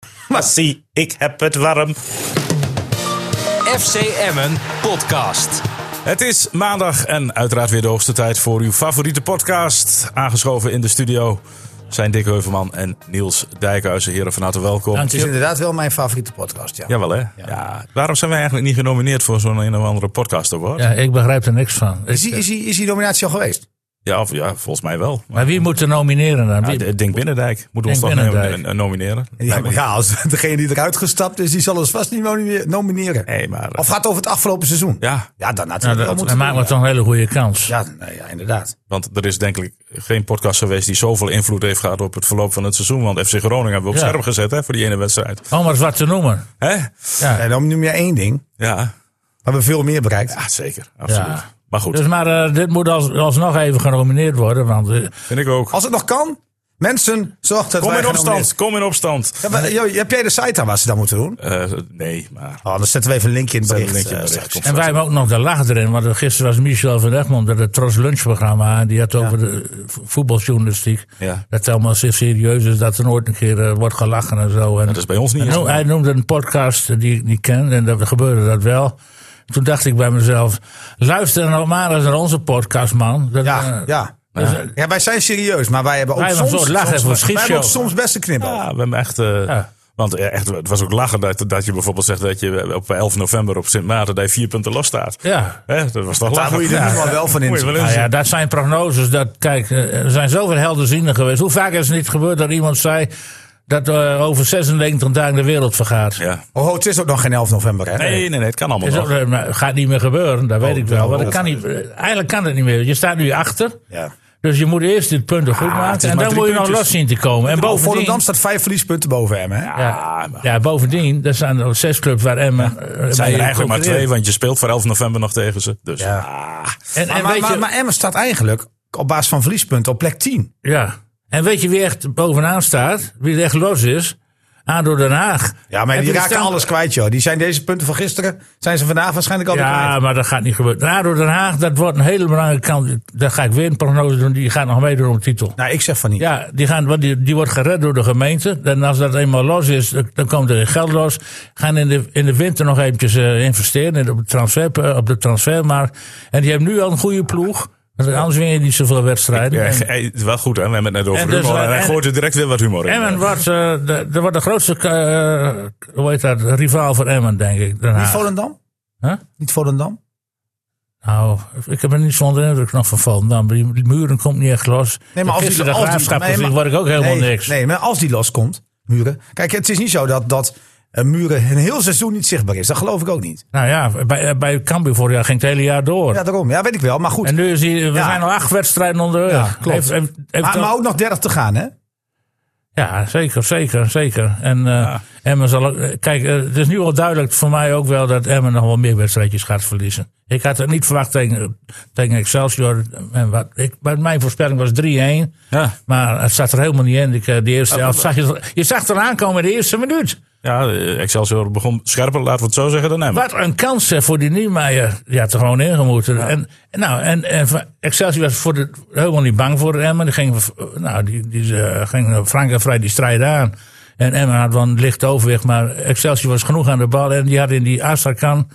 zie, ik heb het warm. FC Emmen podcast. Het is maandag en uiteraard weer de hoogste tijd voor uw favoriete podcast. Aangeschoven in de studio zijn Dick Heuvelman en Niels Dijkhuizen. Heren, van harte welkom. Het is inderdaad wel mijn favoriete podcast, ja. Jawel hè? Ja. Waarom zijn wij eigenlijk niet genomineerd voor zo'n een of andere podcast award? Ja, Ja, ik begrijp er niks van. Is, die, is, die, is die nominatie al geweest? of, ja volgens mij wel. Maar, Maar wie moet er nomineren dan? Wie- ja, Dink Binnendijk moet ons Dink toch Binnendijk. nemen- eh, nomineren. Ja, maar ja, als degene die eruit gestapt is, die zal ons vast niet nomine- nomineren. Nee, maar... eh, Of gaat het over het afgelopen seizoen? ja, Ja, dan Nou, natuurlijk wel dat, moeten dan maken we doen, toch een hele goede kans. ja. Ja, nee, ja, inderdaad. Want er is denk ik geen podcast geweest die zoveel invloed heeft gehad op het verloop van het seizoen. Want FC Groningen hebben we op Ja. scherp gezet hè, voor die ene wedstrijd. Om maar eens wat te noemen. Hè? En dan noem je één ding, Ja. waar we veel meer bereikt. ja, zeker. Absoluut. Ja. Maar goed, Dus maar eh, dit moet als, alsnog even genomineerd worden. Want eh, vind ik ook. Als het nog kan, mensen, zorg dat Kom wij in opstand, genomineerd- kom in opstand. Ja, maar, joh, heb jij de site aan waar ze dat moeten doen? Eh, nee, maar... Oh, dan zetten we even een linkje in het Zet een bericht. linkje in het eh, bericht, straks. komt en wij hebben ook nog de lach erin. Want gisteren was Michel van Egmond dat het Tros Lunchprogramma. En die had over de eh, vo- voetbaljournalistiek. Ja. Dat het allemaal zeer serieus is. Dat er nooit een keer eh, wordt gelachen en zo. En Dat is bij ons niet En eens, no- maar- hij noemde een podcast eh, die ik niet ken en dat gebeurde dat wel. Toen dacht ik bij mezelf, luister nou maar eens naar onze podcast, man. Dat, Ja, eh, ja. dus, eh, Ja, wij zijn serieus, maar wij hebben ook Wij hebben soms, een soort soms, lachen voor wij schietshow. hebben ook soms best een knipoog. Ja, we hebben echt... eh, Ja. Want eh, echt, het was ook lachen dat, dat je bijvoorbeeld zegt dat je op 11 november op Sint Maarten dat je vier punten los staat. ja. Hè, dat was toch Daar lachen. moet je er nu wel wel van Moet je inzien. wel Nou inzien. ja, dat zijn prognoses. Dat, kijk, eh, er zijn zoveel helderzienden geweest. Hoe vaak is het niet gebeurd dat iemand zei dat eh, over 96 dagen de wereld vergaat? Ja. Oh, ho, het is ook nog geen 11 november, hè? Nee, nee, nee, het kan allemaal Ah, Is nog. ook, eh, maar gaat niet meer gebeuren, dat Oh, weet ik wel. Maar dat dat- kan niet, eh, eigenlijk kan het niet meer. Je staat nu achter. Ja. Dus je moet eerst dit punt goed maken. Ah, is En maar dan drie moet je nog puntjes. los zien te komen. Bovendien... En bovendien, Oh, Volendam staat vijf verliespunten boven hem, hè? Ja, Ah, maar- ja, bovendien, er zijn er zes clubs waar Emmen... eh, zijn mee er eigenlijk maar concurreert. twee, want je speelt voor 11 november nog tegen ze. Dus Ja. ah, En, en maar, maar, weet maar, je, maar Emmen staat eigenlijk op basis van verliespunten op plek 10. ja. en weet je wie echt bovenaan staat? Wie er echt los is? ADO Den Haag. Ja, maar Heb die je de raken stand- alles kwijt, joh. Die zijn deze punten van gisteren, zijn ze vandaag waarschijnlijk al weer Ja, kwijt. maar dat gaat niet gebeuren. ADO Den Haag, dat wordt een hele belangrijke kans. Daar ga ik weer een prognose doen. Die gaat nog meedoen om de titel. Nou, ik zeg van niet. Ja, die, gaan, want die, die wordt gered door de gemeente. En als dat eenmaal los is, dan- dan komt er geld los. Gaan in de, in de winter nog eventjes eh, investeren in de, op, de transfer, eh, op de transfermarkt. En die hebben nu al een goede ploeg. Want anders win je niet zoveel wedstrijden. ja, En- ge- hey, het is wel goed, hè? We hebben het net over En dus humor. wij- en hij en- gooit er direct weer wat humor in. Emmen wordt, eh, de, er wordt de grootste eh, hoe heet dat, rivaal voor Emmen, denk ik. Den Niet Haag. Volendam? Huh? Niet Volendam? Nou, ik heb er niet zonder indruk nog van Volendam. Die muren komt niet echt los. Nee, maar als die- Gisteren de als die- graafschap nee, gezien, maar- word ik ook helemaal nee, niks. Nee, maar als die loskomt, Muren. Kijk, het is niet zo dat, dat eh, Muren een heel seizoen niet zichtbaar is. Dat geloof ik ook niet. Nou ja, bij, eh, bij Cambuur vorig jaar ging het hele jaar door. Ja, daarom. Ja, weet ik wel. Maar goed. en nu is hij, we Ja. zijn al acht wedstrijden onderweg. Ja, klopt. Heeft- heeft- heeft maar, al- maar ook nog 30 te gaan, hè? Ja, zeker, zeker, zeker. En eh, Emmen zal ook... eh, Kijk, eh, het is nu al duidelijk voor mij ook wel dat Emmen nog wel meer wedstrijdjes gaat verliezen. Ik had het niet verwacht tegen, tegen Excelsior. En wat, ik, maar mijn voorspelling was 3-1. Ja. Maar het zat er helemaal niet in. Ik, eh, de eerste helft zag je, je zag het aankomen in de eerste minuut. ja, eh, Excelsior begon scherper, laten we het zo zeggen, dan Emmen. Wat een kans hè, voor die Niemeyer. Die had er gewoon in gemoeten. En, nou, en, en van- Excelsior was voor de, helemaal niet bang voor Emmen. Die ging, eh, nou, die, die eh, ging frank en vrij die strijd aan. En Emmen had wel een licht overwicht. Maar Excelsior was genoeg aan de bal. En die had in die Astrakhan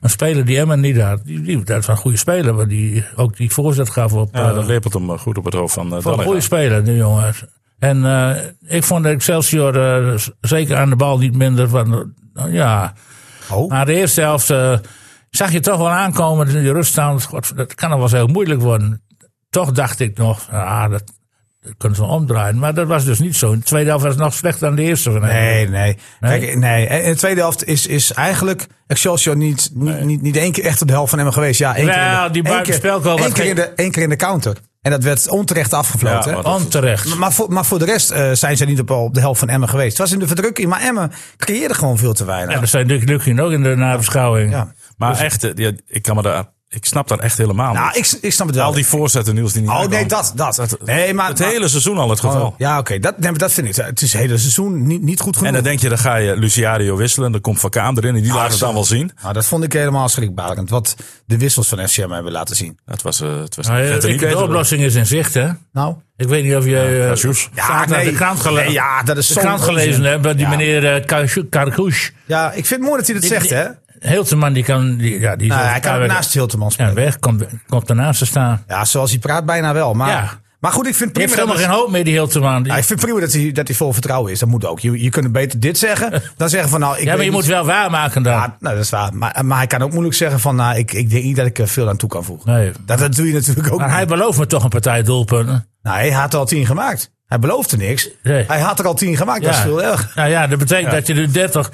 een speler die Emmen niet had. Die, die, dat was een goede speler. Maar die ook die voorzet gaf op... Ja, eh, dat lepelt hem eh, goed op het hoofd van eh, voor een Dallinga. goede speler, die jongen. En eh, ik vond Excelsior eh, z- zeker aan de bal niet minder van... eh, ja, Oh. maar de eerste helft eh, zag je toch wel aankomen in die ruststand. God, dat kan nog wel eens heel moeilijk worden. Toch dacht ik nog, ah, dat, dat kunnen ze wel omdraaien. Maar dat was dus niet zo. In de tweede helft was het nog slechter dan de eerste. van Emmen. Nee, nee. Kijk, nee. En de tweede helft is, is eigenlijk Excelsior niet, niet, niet, niet één keer echt op de helft van hem geweest. Ja, één keer, Wel, in de- die één buitenspel keer, komen één keer, geen- in de- één keer in de counter. En dat werd onterecht Ja, afgevloten. hè. maar maar, dat- Onterecht. maar, voor, maar voor de rest eh, zijn ze niet op, op de helft van Emmen geweest. Het was in de verdrukking, maar Emmen creëerde gewoon veel te weinig. Ja, dat zijn Luc Luchin ook in de nabeschouwing. Ja. Maar echt, eh, ja, ik kan me daar Ik snap dat echt helemaal Nou, niet. ik, ik snap het wel. Al die voorzetten, Niels, die niet oh nee, uitkomen. dat, dat. nee, maar, Het maar- hele seizoen al het geval. Oh, ja, oké, dat, nee, maar dat vind ik. Het is het hele seizoen niet, niet goed genoeg. En dan denk je, dan ga je Luciario wisselen. Dan komt Van Kaam erin en die laat het dan wel zien. Nou, dat vond ik helemaal schrikbarend. Wat de wissels van FCM hebben laten zien. Het was, eh, het was Nou, het werd er ik- niet de beter door. oplossing is in zicht, hè? Nou, Ik weet niet of jij eh, Cassius. zaterdag nee. de krant, gele- Nee, ja, dat is de zo'n krant onzin. gelezen hebt. dat Die Ja. meneer uh, Karkoes. ja, ik vind het mooi dat hij dat zegt, hè? Hilteman, die kan... Die, ja, die is Nou, over hij kan ook elkaar naast Hilterman weg. Ja, spelen. weg. Komt, komt ernaast te staan. Ja, zoals hij praat, bijna wel. Maar, Ja. maar goed, ik vind Je hebt prima helemaal dat, geen hoop meer, die Hilteman. Die- ja, ik vind prima dat, hij, dat hij vol vertrouwen is. Dat moet ook. Je, je kunt beter dit zeggen dan zeggen van... Nou, ik ja, maar weet je moet niet- wel waarmaken dan. Ja, nou, dat is waar. Maar, maar hij kan ook moeilijk zeggen van... Nou, ik, ik denk niet dat ik er veel aan toe kan voegen. Nee. Dat, dat doe je natuurlijk ook Maar hij niet. belooft me toch een partij doelpunten. Nou, hij had er al tien gemaakt. Hij beloofde niks. Nee. Hij had er al tien gemaakt. Dat is veel erg. Nou ja, dat betekent dat je de 30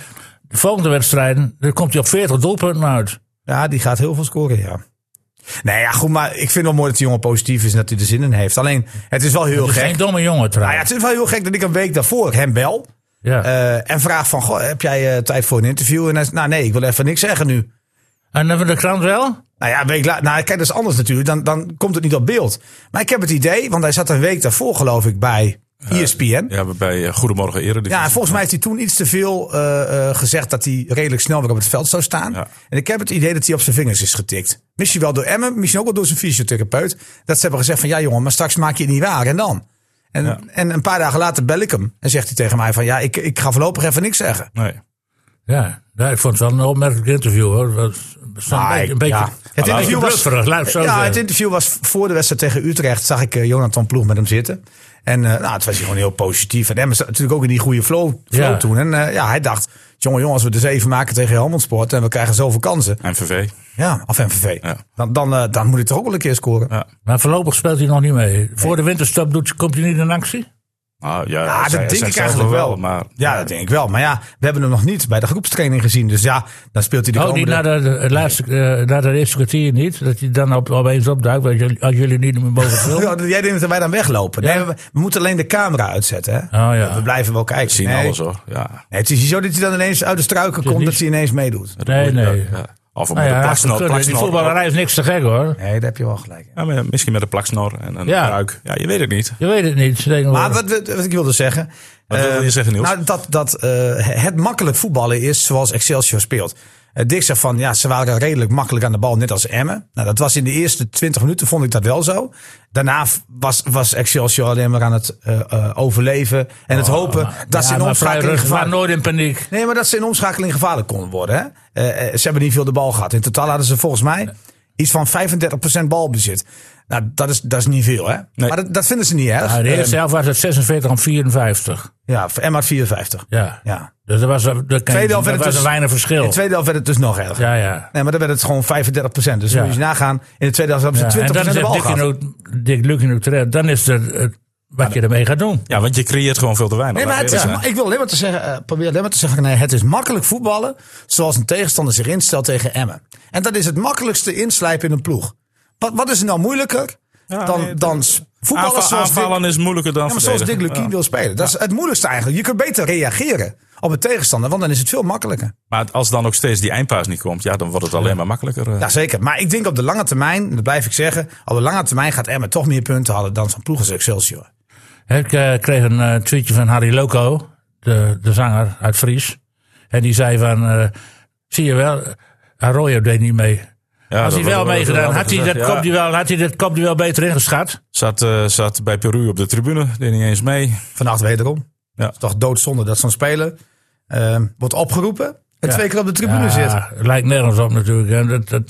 de volgende wedstrijden, dan komt hij op 40 doelpunten uit. Ja, die gaat heel veel scoren, ja. Nee, ja, goed, maar ik vind wel mooi dat die jongen positief is en dat hij er zin in heeft. Alleen, het is wel heel Dat is gek. geen domme jongen Nou ja, trouwens. het is wel heel gek dat ik een week daarvoor hem bel Ja. eh, en vraag van, goh, heb jij eh, tijd voor een interview? En hij zegt, nou nee, ik wil even niks zeggen nu. en hebben we de krant wel? Nou ja, een week later, nou kijk, dat is anders natuurlijk, dan, dan komt het niet op beeld. Maar ik heb het idee, want hij zat een week daarvoor geloof ik bij E ESPN. ja. Ja, bij eh, Goedemorgen Eredivisie. en volgens mij heeft hij toen iets te veel eh, eh, gezegd dat hij redelijk snel weer op het veld zou staan. Ja. En ik heb het idee dat hij op zijn vingers is getikt. Misschien wel door Emmen, misschien ook wel door zijn fysiotherapeut. Dat ze hebben gezegd van ja jongen, maar straks maak je het niet waar en dan. En, en een paar dagen later bel ik hem en zegt hij tegen mij van ja, ik, ik ga voorlopig even niks zeggen. Nee. Ja. ja, ik vond het wel een opmerkelijk interview hoor. Het was- het was Ah, een beetje, een ik- beetje, ja. Het interview was- blufferig, laat ik het zo ja, zeggen. het interview was voor de wedstrijd tegen Utrecht. Zag ik eh, Jonathan Ploeg met hem zitten. En eh nou, het was hij gewoon heel positief. En Emmen zat natuurlijk ook in die goede flow, flow Ja. toen. En eh, ja, hij dacht, jongen, jongen, als we de zeven maken tegen Helmond Sport... en we krijgen zoveel kansen, MVV. ja, af MVV. Ja. Dan, dan, eh, dan moet hij toch ook wel een keer scoren. Ja. Maar voorlopig speelt hij nog niet mee. Voor de winterstop doet, komt hij niet in actie? Nou, ja, Ja, zij- zij Ah, dat denk ik zelf eigenlijk wel. Maar ja, dat denk ik wel. Maar ja, we hebben hem nog niet bij de groepstraining gezien. Dus ja, dan speelt hij de Oh, komende... niet na de, de laatste, eh, na de eerste kwartier niet? Dat hij dan op, opeens opduikt als jullie, als jullie niet meer boven het veld? Ja, jij denkt dat wij dan weglopen. Nee, we, we moeten alleen de camera uitzetten. Hè? Oh, ja. We blijven wel kijken. we zien Nee. alles hoor. Ja. Nee, het is niet zo dat hij dan ineens uit de struiken komt niet- dat hij ineens meedoet. Nee, nee. Ja. Of met Nou de ja, plaksnor. kunnen. die plaksnor- voetballerij is niks te gek hoor. Nee, daar heb je wel gelijk. Ja, maar ja, misschien met een plaksnor en een Ja. ruik. Ja, je weet het niet. Je weet het niet. oh, tegenwoordig. Maar wat, wat, wat ik wilde zeggen. Wat wilde je eh, zeggen, Niels? Nou, dat, dat eh, het makkelijk voetballen is zoals Excelsior speelt. Eh, Dick zegt van ja, ze waren redelijk makkelijk aan de bal, net als Emmen. Nou, dat was in de eerste 20 minuten, vond ik dat wel zo. Daarna f- was, was Excelsior alleen maar aan het eh, eh, overleven en Oh, het hopen dat ze Ja, in maar vrij omschakeling rustig, maar gevaarlijk nooit in paniek. Nee, maar dat ze in omschakeling gevaarlijk konden worden. Hè? Eh, eh, ze hebben niet veel de bal gehad. In totaal hadden ze volgens mij iets van 35% balbezit. Nou, dat is, dat is niet veel, hè? Nee. Maar dat, dat vinden ze niet erg. Ehm, Nou, de eerste helft was het 46 om 54. Ja, Emma 54. Ja. Ja. Dus er was, er, er, Tweede helft er werd het was dus- een weinig In verschil. de tweede helft werd het dus nog erger. Ja, ja. Nee, maar dan werd het gewoon 35 Dus Ja. dan moet je nagaan. In de tweede helft hebben ja. ze En 20 dan de zegt bal Dick, gehad. Luc- Dick Luc en terecht. Dan is er eh, wat je ermee gaat doen. Ja, want je creëert gewoon veel te weinig. Nee, maar het Laten is, we eerlijk ik wil alleen maar te zeggen, eh, probeer alleen maar te zeggen, nee, het is makkelijk voetballen zoals een tegenstander zich instelt tegen Emmen. En dat is het makkelijkste inslijpen in een ploeg. Wat, wat is er nou moeilijker Ja, dan, nee, dan s- zijn. voetballen Aanva- zoals Dick- aanvallen is moeilijker dan Ja, maar zoals Dick verdedigen. Lukien wil spelen. Dat is het moeilijkste eigenlijk. Je kunt beter reageren op een tegenstander, want dan is het veel makkelijker. Maar als dan ook steeds die eindpaas niet komt, ja, dan wordt het alleen maar makkelijker. eh. Ja, zeker. Maar ik denk op de lange termijn, dat blijf ik zeggen, op de lange termijn gaat Emmen toch meer punten halen dan van ploegen als Excelsior. Ik eh, kreeg een eh, tweetje van Harry Loco, de, de zanger uit Fries. En die zei van, eh, zie je wel, Arroyo deed niet mee. Ja, Als dat hij wel wordt- wordt meegedaan, altijd had hij gezegd, dat ja. kopje wel, had hij dat kopje wel beter ingeschat. Zat, eh, zat bij Peru op de tribune, deed niet eens mee. Vannacht wederom. Ja. Het is toch doodzonde dat zo'n speler ehm, wordt opgeroepen en twee keer op de tribune zit. Ja, lijkt nergens op natuurlijk. En dat, dat,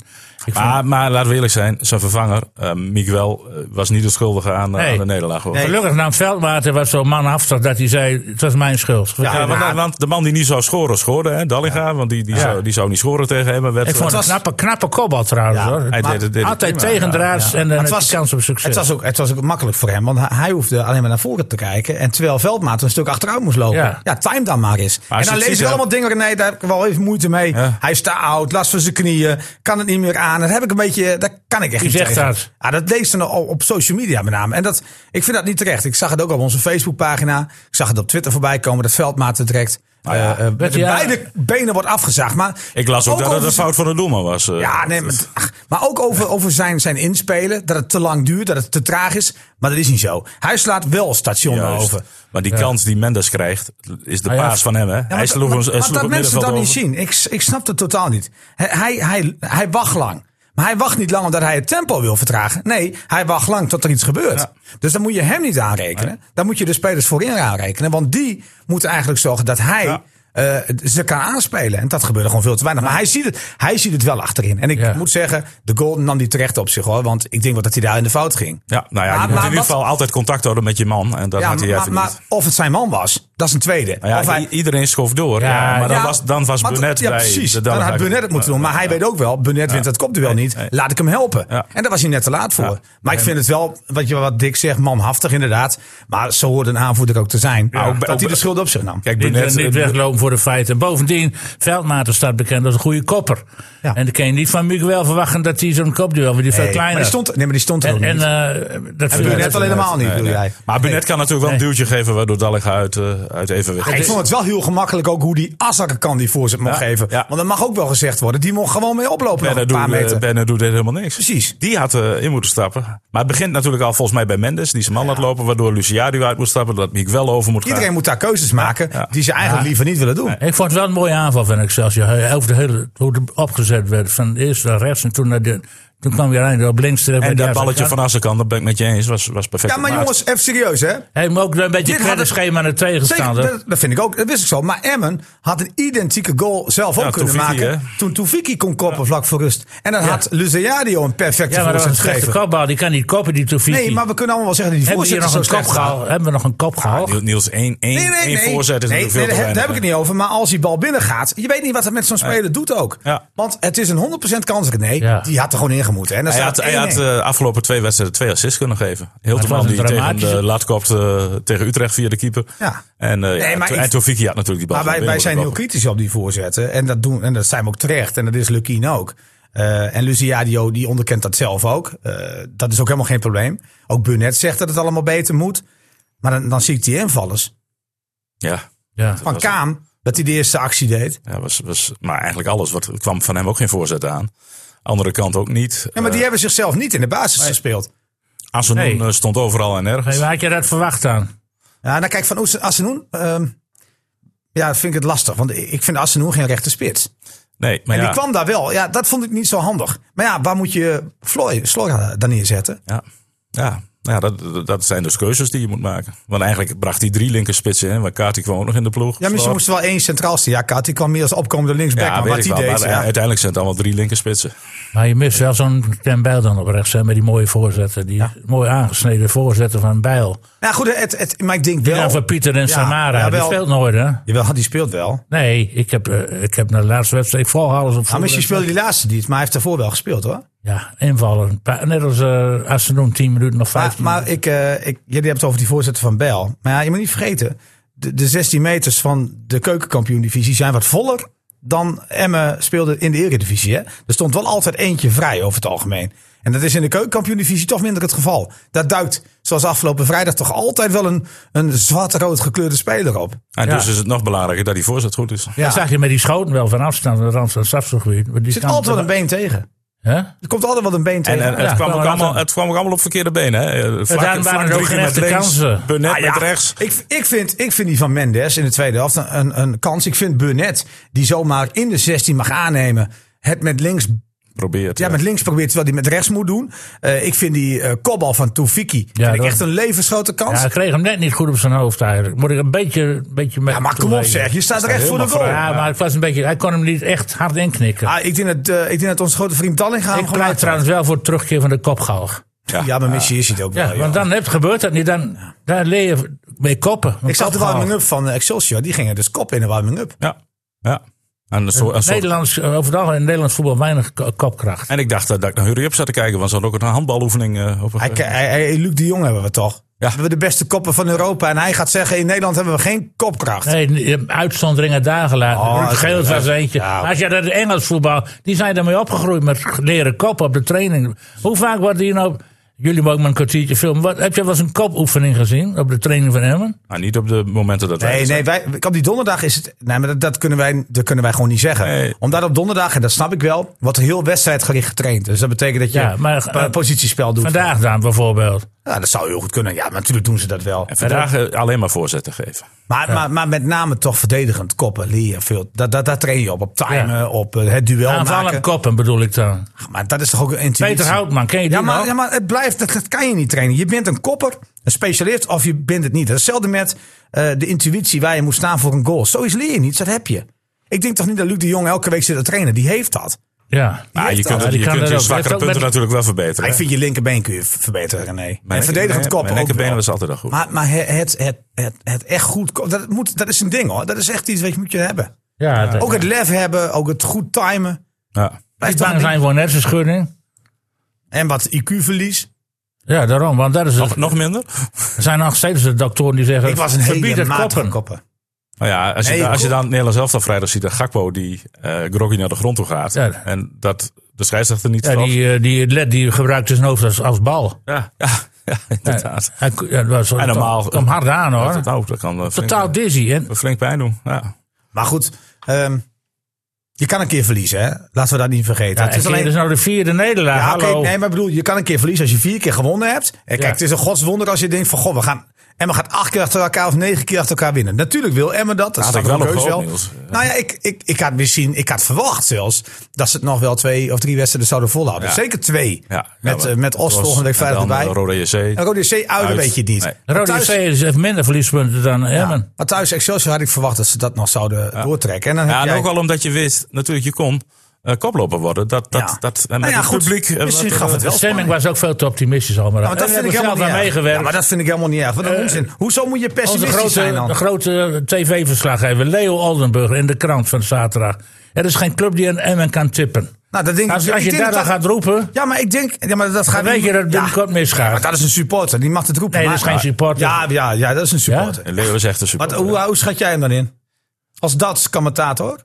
ik Ah, vond- Maar, maar laten we eerlijk zijn, zijn vervanger, eh, Miguel, eh, was niet de schuldige aan, eh, Nee. aan de nederlaag. Hoor. Nee. Gelukkig nam Veldmaten wat zo'n man afzag dat hij zei, het was mijn schuld. Ja, Ja, want, maar- want de man die niet zou scoren, schoorde. Hè? Dallinga, want die, die, zou, die zou niet scoren tegen hem. Werd, Ik vond het een was- knappe, knappe kopbal trouwens. Ja, hoor. hij maar deed het, deed het Altijd prima. tegendraads en dan Maar heb je kans op succes. Het was, ook, het was ook makkelijk voor hem, want hij, hij hoefde alleen maar naar voren te kijken. En terwijl Veldmaat een stuk achteruit moest lopen. Ja, Ja. time dan maar eens. Maar als en je het dan lees ziet, ik ja. allemaal dingen, René, daar heb ik wel even moeite mee. Ja. Hij is te oud, last van zijn knieën, kan het niet meer aan. Dat heb ik een beetje, daar kan ik echt Wie niet zegt tegen. dat? Ja, dat lees ze nou op, op social media met name. En dat, ik vind dat niet terecht. Ik zag het ook op onze Facebookpagina. Ik zag het op Twitter voorbij komen, dat Veldmaat het direct Nou ja, Eh, eh, met ja. beide benen wordt afgezaagd. Maar Ik las ook, dat het over een fout van de doelman was. eh. Ja, nee, maar, ach, maar ook over, over zijn, zijn inspelen. Dat het te lang duurt, dat het te traag is. Maar dat is niet zo. Hij slaat wel stationen Juist. over. Maar die kans die Mendes krijgt, is de Ah, ja. paas van hem. Hè? Ja, hij maar- sloeg maar, ons. hij maar sloeg dat het mensen dat niet middenveld zien. Ik, s- ik snap dat totaal niet. Hij, hij, hij, hij wacht lang. Maar hij wacht niet lang omdat hij het tempo wil vertragen. Nee, hij wacht lang tot er iets gebeurt. Dus dan moet je hem niet aanrekenen. Dan moet je de spelers voorin aanrekenen. Want die moeten eigenlijk zorgen dat hij Ja. eh, ze kan aanspelen. En dat gebeurde gewoon veel te weinig. Maar hij ziet het, hij ziet het wel achterin. En ik Ja. moet zeggen, de goal nam die terecht op zich hoor. Want ik denk wel dat hij daar in de fout ging. Ja, nou ja, je Maar- moet maar in ieder wat- geval altijd contact houden met je man. En dat Ja, had hij maar, even maar niet. of het zijn man was, dat is een tweede. Nou ja, of hij, i- iedereen schoof door. Ja, Ja, maar dan Ja, was, dan was maar Burnett ja, bij. precies. de Dan had Denemarken. Burnett het moeten doen. Maar hij weet ook wel, Burnett wint dat kopduel niet. nee. Laat ik hem helpen. Ja. En daar was hij net te laat voor. Ja. Maar ik vind het wel, wat, je, wat Dick zegt, manhaftig inderdaad. Maar zo hoort een aanvoerder ook te zijn. ook- dat ook- hij de schuld op zich nam. Kijk, Niet, Burnett, niet weglopen voor de feiten. Bovendien, Veldmaten staat bekend als een goede kopper. Ja. En dan kan je niet van Miguel verwachten dat hij zo'n kopduel, want die is Nee, veel maar, kleiner. die stond, nee, maar die stond er ook en en niet. eh, dat vind ik- Burnett al helemaal niet, Nee, bedoel nee. jij. Maar Burnett kan natuurlijk wel een duwtje geven waardoor Dallig uit, eh, uit evenwicht Ik is. vond het wel heel gemakkelijk ook hoe die Assakker kan die voorzet mocht Ja, geven. ja. Want dat mag ook wel gezegd worden. Die mocht gewoon mee oplopen nog een Bernardo, paar meter. eh, Bernardo deed helemaal niks. Precies. Die had eh, in moeten stappen. Maar het begint natuurlijk al volgens mij bij Mendes, die zijn man laat lopen, waardoor Luciadio uit moet stappen, dat Miek wel over moet gaan. Iedereen moet daar keuzes maken Ja. die ze eigenlijk liever niet willen doen. Ik vond het wel een mooie aanval van Excelsior. Hij- Over de hele, hoe het opgezet werd. Van eerst naar rechts en toen naar de... Toen kwam hij eindelijk op links terecht. En bij dat de balletje van Assekan, dat ben ik met je eens, was, was perfect. Ja, maar gemaakt. jongens, even serieus hè. Hij heeft ook een beetje Dit had het het- schema naar Zeker, tegenstander. dat, dat vind ik ook. Dat wist ik zo. Maar Emmen had een identieke goal zelf ook Ja, kunnen Taufiki, maken. hè? Toen Toefiki kon koppen vlak voor rust. En dan had Luziadio een perfecte Ja, maar dat was een voorzet slechte gegeven. kopbal. Die kan niet koppen, die Tofiki. Nee, maar we kunnen allemaal wel zeggen dat die hebben we hier voorzitter nog zo een kop slecht gaat. gehaald? Hebben we nog een kop gehaald? Niels- Niels, één, één, Nee, nee, één nee. voorzet is nee, natuurlijk nee, veel te daar daar heb ik het weinig. niet over. Maar als die bal binnen gaat, je weet niet wat er met zo'n speler doet ook. Ja. Want het is een 100% kans, René. Ja. Die had er gewoon ingemoeten. En dan Hij staat had, hij had 1-1. eh, afgelopen twee wedstrijden twee assists kunnen geven. was Hilterman een die tegen dramatische- de lat kopte tegen Utrecht via de keeper. Ja. En, eh Nee, ja, maar to- ik- en Toviki had natuurlijk die bal. Maar wij, van wij binnen zijn heel moeten kritisch op die voorzetten. En dat, doen, en dat zijn we ook terecht. En dat is Lukien ook. Eh, en Luciadio die onderkent dat zelf ook. Eh, dat is ook helemaal geen probleem. Ook Burnett zegt dat het allemaal beter moet. Maar dan, dan zie ik die invallers. koppen. Ja. Ja. Van Kaam, dat hij de eerste actie deed. Ja, was, was, maar eigenlijk alles. Wat, er kwam van hem ook geen voorzet aan. Andere kant ook niet. Ja, maar die hebben zichzelf niet in de basis gespeeld. Asenoen Nee. eh, stond overal en Hey, ergens. waar had je dat verwacht dan? Ja, en dan kijk, van Oes- Assenoen... ehm, ja, vind ik het lastig. Want ik vind Assenoen geen rechte spits. Nee, maar En ja. die kwam daar wel. Ja, dat vond ik niet zo handig. Maar ja, waar moet je Floy, Slora dan neerzetten? Ja, ja. Nou ja dat, dat- dat zijn dus keuzes die je moet maken. Want eigenlijk bracht hij drie linkerspitsen in. Want Kati kwam ook nog in de ploeg. Ja, maar ze Flor. moest wel één centraal staan. Ja, Kat, die kwam meer als opkomende linksback. ja, maar weet wat ik wel. die deed. Maar, eh, ja. uiteindelijk zijn het allemaal drie linkerspitsen. Maar je mist wel zo'n Ten Bijl dan op rechts. Hè, met die mooie voorzetten. Die mooi aangesneden voorzetten van Bijl. Nou goed, het, het, maar ik denk Ja, wel. van Pieter en Samara. ja, die wel. speelt nooit hè? Jawel, die speelt wel. Nou, Nee, ik heb, eh, ik heb naar de laatste wedstrijd. Ik volg alles op voetbal. misschien speelde die laatste niet, maar hij heeft daarvoor wel gespeeld hoor. Ja, invallen. Een paar- Net als eh Asenoen, 10 minuten of Maar, 15 maar ik, eh, ik, jullie hebben het over die voorzitter van Bel. Maar ja, je moet niet vergeten, de, de 16 meters van de keukenkampioen-divisie zijn wat voller dan Emmen speelde in de Eredivisie. Hè? Er stond wel altijd eentje vrij over het algemeen. En dat is in de keukenkampioen-divisie toch minder het geval. Daar duikt, zoals afgelopen vrijdag, toch altijd wel een, een zwart-rood gekleurde speler op. En Ja. dus is het nog belangrijker dat die voorzet goed is. Ja. Dat zag je met die schoten wel van afstand, de rand van het strafschopgebied. Er Er zit altijd wel een been tegen. Hè? Er komt altijd wel een been En, tegen. en Ja, het, kwam wel ook een allemaal, aantal- het kwam ook allemaal op verkeerde benen. Hè? Eh, Vlak, waren vlak er ook drie keer geen met echte links, kansen. Burnett Ah, ja, met rechts. Ik, ik, vind, ik vind die van Mendes in de tweede helft een, een, een kans. Ik vind Burnett, die zomaar in de 16 mag aannemen, het met links, Probeert. eh, ja, ja. met links probeert terwijl hij met rechts moet doen. Eh, ik vind die eh kopbal van Toefiki vind ik dat- echt een levensgrote Ja, kans. hij Ja, kreeg hem net niet goed op zijn hoofd eigenlijk. Moet ik een beetje, beetje met maar kom op toewijzen. zeg, je staat er echt voor de goal. Ja, maar het was een beetje, hij kon hem niet echt hard inknikken. Ah, ik, denk dat, eh, ik denk dat onze grote vriend Dallinga hem ik pleit gemaakt trouwens wel voor het terugkeer van de kopgalg. heeft. Ja, maar Messi is het ook Ja, wel. joh. want dan heb, gebeurt dat niet. Dan, daar leer je mee koppen. Want ik zag de kopgalg- warming-up van eh, Excelsior. Die gingen dus kop in de warming-up. Ja. ja. En, een soort- een soort- Nederlands, eh, overal in Nederlands voetbal weinig ko- kopkracht. en ik dacht dat, dat ik naar Hurry Up zat te kijken, want ze hadden ook een handbaloefening eh, op een Hij, gegeven hij, hij- Luc de Jong hebben we toch? Ja. We hebben de beste koppen van Europa. En hij gaat zeggen, in Nederland hebben we geen kopkracht. Nee, je hebt uitzonderingen daar gelaten. Oh, Ruud Geels was eentje. ja. Als je dat Engels voetbal, die zijn daarmee opgegroeid met leren kop op de training. Hoe vaak wordt hier nou Jullie mogen maar een kwartiertje filmen. Wat, heb je wel eens een kopoefening gezien op de training van Emmen? Maar Ah, niet op de momenten dat wij Nee, er zijn. nee, wij, op die donderdag is het. Nee, maar dat, dat, kunnen, wij, dat kunnen wij gewoon niet zeggen. Nee. Omdat op donderdag, en dat snap ik wel, wordt er heel wedstrijdgericht getraind. Dus dat betekent dat je Ja, maar, een eh, positiespel doet. Vandaag dan bijvoorbeeld. Ja, dat zou heel goed kunnen. Ja, maar natuurlijk doen ze dat wel. En vandaag eh, alleen maar voorzetten geven. Ah, Maar, maar, maar met name toch verdedigend koppen, leren veel. Dat, dat, dat train je op. Op timen, Ja. op eh, het duel Aanvallen maken. koppen bedoel ik dan. Ach, Maar dat is toch ook een intuïtie. Peter Houtman, ken je die Ja maar, nog? ja, maar het blijft, dat, dat kan je niet trainen. Je bent een kopper, een specialist of je bent het niet. Dat is Hetzelfde met eh, de intuïtie waar je moet staan voor een goal. Zoiets leer je niet, dat heb je. Ik denk toch niet dat Luc de Jong elke week zit te trainen. Die heeft dat. Ja. Maar heeft je kunt, het- dat. Ja, je, die kan kunt er je ook. zwakkere Heeft ook punten met- natuurlijk wel verbeteren. Ik hè? vind je linkerbeen kun je v- verbeteren, René. Mijn en verdedigend linker- koppen Mijn ook linkerbeen wel. was altijd al goed. Maar, maar het, het, het, het, het echt goed ko- dat, moet, dat is een ding hoor. Dat is echt iets wat je moet je hebben. Ja, dat- Ook het lef hebben, ook het goed timen. ja. Blijft Niet toch bang een ding. zijn voor een hersenschudding. En wat IQ-verlies. Ja, daarom. Want dat is het. Nog, nog minder? Er zijn nog steeds de doktoren die zeggen... Ik was een verbied hele het matige koppen. koppen. Nou ja, als je, Nee, da- als je goed. dan Nederlands elftal vrijdag ziet, dat Gakpo die eh Groggy naar de grond toe gaat. Ja. En dat de scheidsrechter niet Ja, straft. die, eh, die, die, die gebruikt zijn hoofd als, als bal. ja. ja, ja, inderdaad. Hij, ja, dat was, En normaal- Kom, kom hard aan hoor. Dat, ook, dat kan eh, flink, Totaal dizzy. En, flink pijn doen. Ja. Maar goed, ehm, je kan een keer verliezen, hè? Laten we dat niet vergeten. ja, het is alleen. is nou de vierde nederlaag. Ja, oké, Hallo. nee, maar ik bedoel, je kan een keer verliezen als je vier keer gewonnen hebt. En kijk, Ja. het is een godswonder als je denkt van, goh, we gaan. Emma gaat acht keer achter elkaar of negen keer achter elkaar winnen. Natuurlijk wil Emma dat. Dat Had staat ik er wel ook op heus gehoopt, Niels. Ja. Nou ja, ik, ik, ik had misschien, ik had verwacht zelfs dat ze het nog wel twee of drie wedstrijden zouden volhouden. Ja. Zeker twee. Ja, met ja, eh, met Os Os volgende week en vrijdag dan, erbij. eh, Roda JC. En Rode C uit, dat Uit. weet je het niet. Nee. Maar Rode thuis- JC is- heeft minder verliespunten dan Emmen. ja, Maar thuis Excelsior had ik verwacht dat ze dat nog zouden doortrekken. En dan heb Ja, en jij- ook al omdat je wist, natuurlijk, je kon eh, koploper worden. Dat, dat, Ja. dat, en Nou met ja, het goed. publiek. eh, Misschien wat, gaf eh, het De wel stemming was ook veel te optimistisch allemaal. Ja, maar dat vind ik helemaal zelf niet aan erg. meegewerkt. Eh, Ja, maar dat vind ik helemaal niet erg. Wat een onzin. Hoezo moet je Onze pessimistisch zijn grote, dan? de grote tv-verslaggever Leo Oldenburger in de krant van zaterdag. Er is geen club die een Emmen kan tippen. Nou, dat denk ik- Als, ik als je denk daar dat- dan gaat roepen, Ja, maar ik denk... Ja, maar dat gaat dan weet niet- je dat het Ja, binnenkort maar misgaat. dat is een supporter. Die mag het roepen. Nee, dat maar- is geen supporter. Oh. Ja, ja, ja, dat is een supporter. En Leo is echt een Wat, supporter. hoe, hoe schat jij hem dan in? Als dat commentator?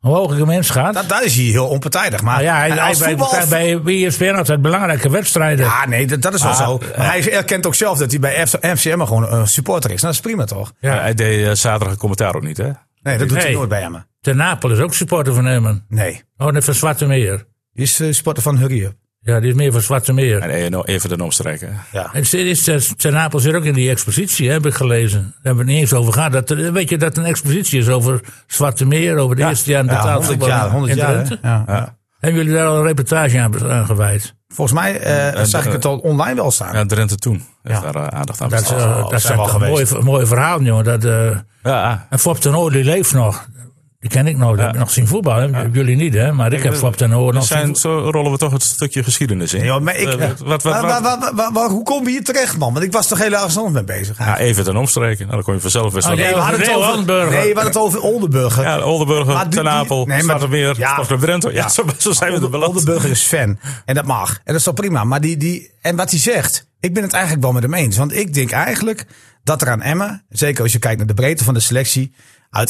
Hoe hoger ik hem inschat. Dat, dat is hij heel onpartijdig. Maar Nou ja, hij, en hij als bij, voetbal... bij Ah, bij E ESPN altijd belangrijke wedstrijden. Ja, nee, dat, dat is wel zo. Maar hij erkent ook zelf dat hij bij F- FCM gewoon een supporter is. Nou, dat is prima toch? Ja, hij deed eh, zaterdag een commentaar ook niet, hè? Nee, dat doet hij Nee. nooit bij hem. Ten Napel is ook supporter van Emmen. Nee. Oh, net van Zwarte Meer. Die is eh, supporter van Hurry Up. Ja, die is meer van Zwarte Meer. En ENO even de E omstreken. Ja. En ze- is- eh, Ten Napel zit ook in die expositie, heb ik gelezen. Daar hebben we het niet eens over gehad. Dat, er- weet je dat er een expositie is over Zwarte Meer, over de eerste jaren Ja, betaald 100 voetbal jaar. in 100 jaar, hè? Drenthe? Ja. Hebben jullie daar al een reportage aan, aan gewijd? Volgens mij eh, en- zag ik het al online wel staan. Ja, Drenthe toen heeft daar eh, aandacht aan Dat, is, besteed. eh, dat zijn dat zijn we al toch mooie, geweest. mooie verhalen, jongen. Dat, eh, Ja, ah. en Fop ten Oor, die leeft nog. Die ken ik nog. Die heb ik nog zien voetballen. Jullie niet, hè? Maar ik, heb we- Fop ten Oor nog Dat zijn, zien zo rollen we toch het stukje geschiedenis in. Ja, maar ik, Eh, wat, wat, wat, Maar- maar- maar- maar- maar hoe komen we hier terecht, man? Want ik was toch heel erg anders mee bezig. Ja, even ten omstreken. Nou, dan kon je vanzelf weer zo. Oh, ja, ja. we hadden het Leo over Handenburger. Nee, we hadden het over Oldenburger. Oldenburger, Maar die- Ten die- Apel, nee, nee, maar- Meer, ja. Sportclub Drenthe. Ja, Ja. Zo, zo zijn we er Olden- beland. Oldenburger is fan. En dat mag. En dat is wel prima. Maar die, die, en wat hij zegt, ik ben het eigenlijk wel met hem eens. Want ik denk eigenlijk dat er aan Emmen, zeker als je kijkt naar de breedte van de selectie,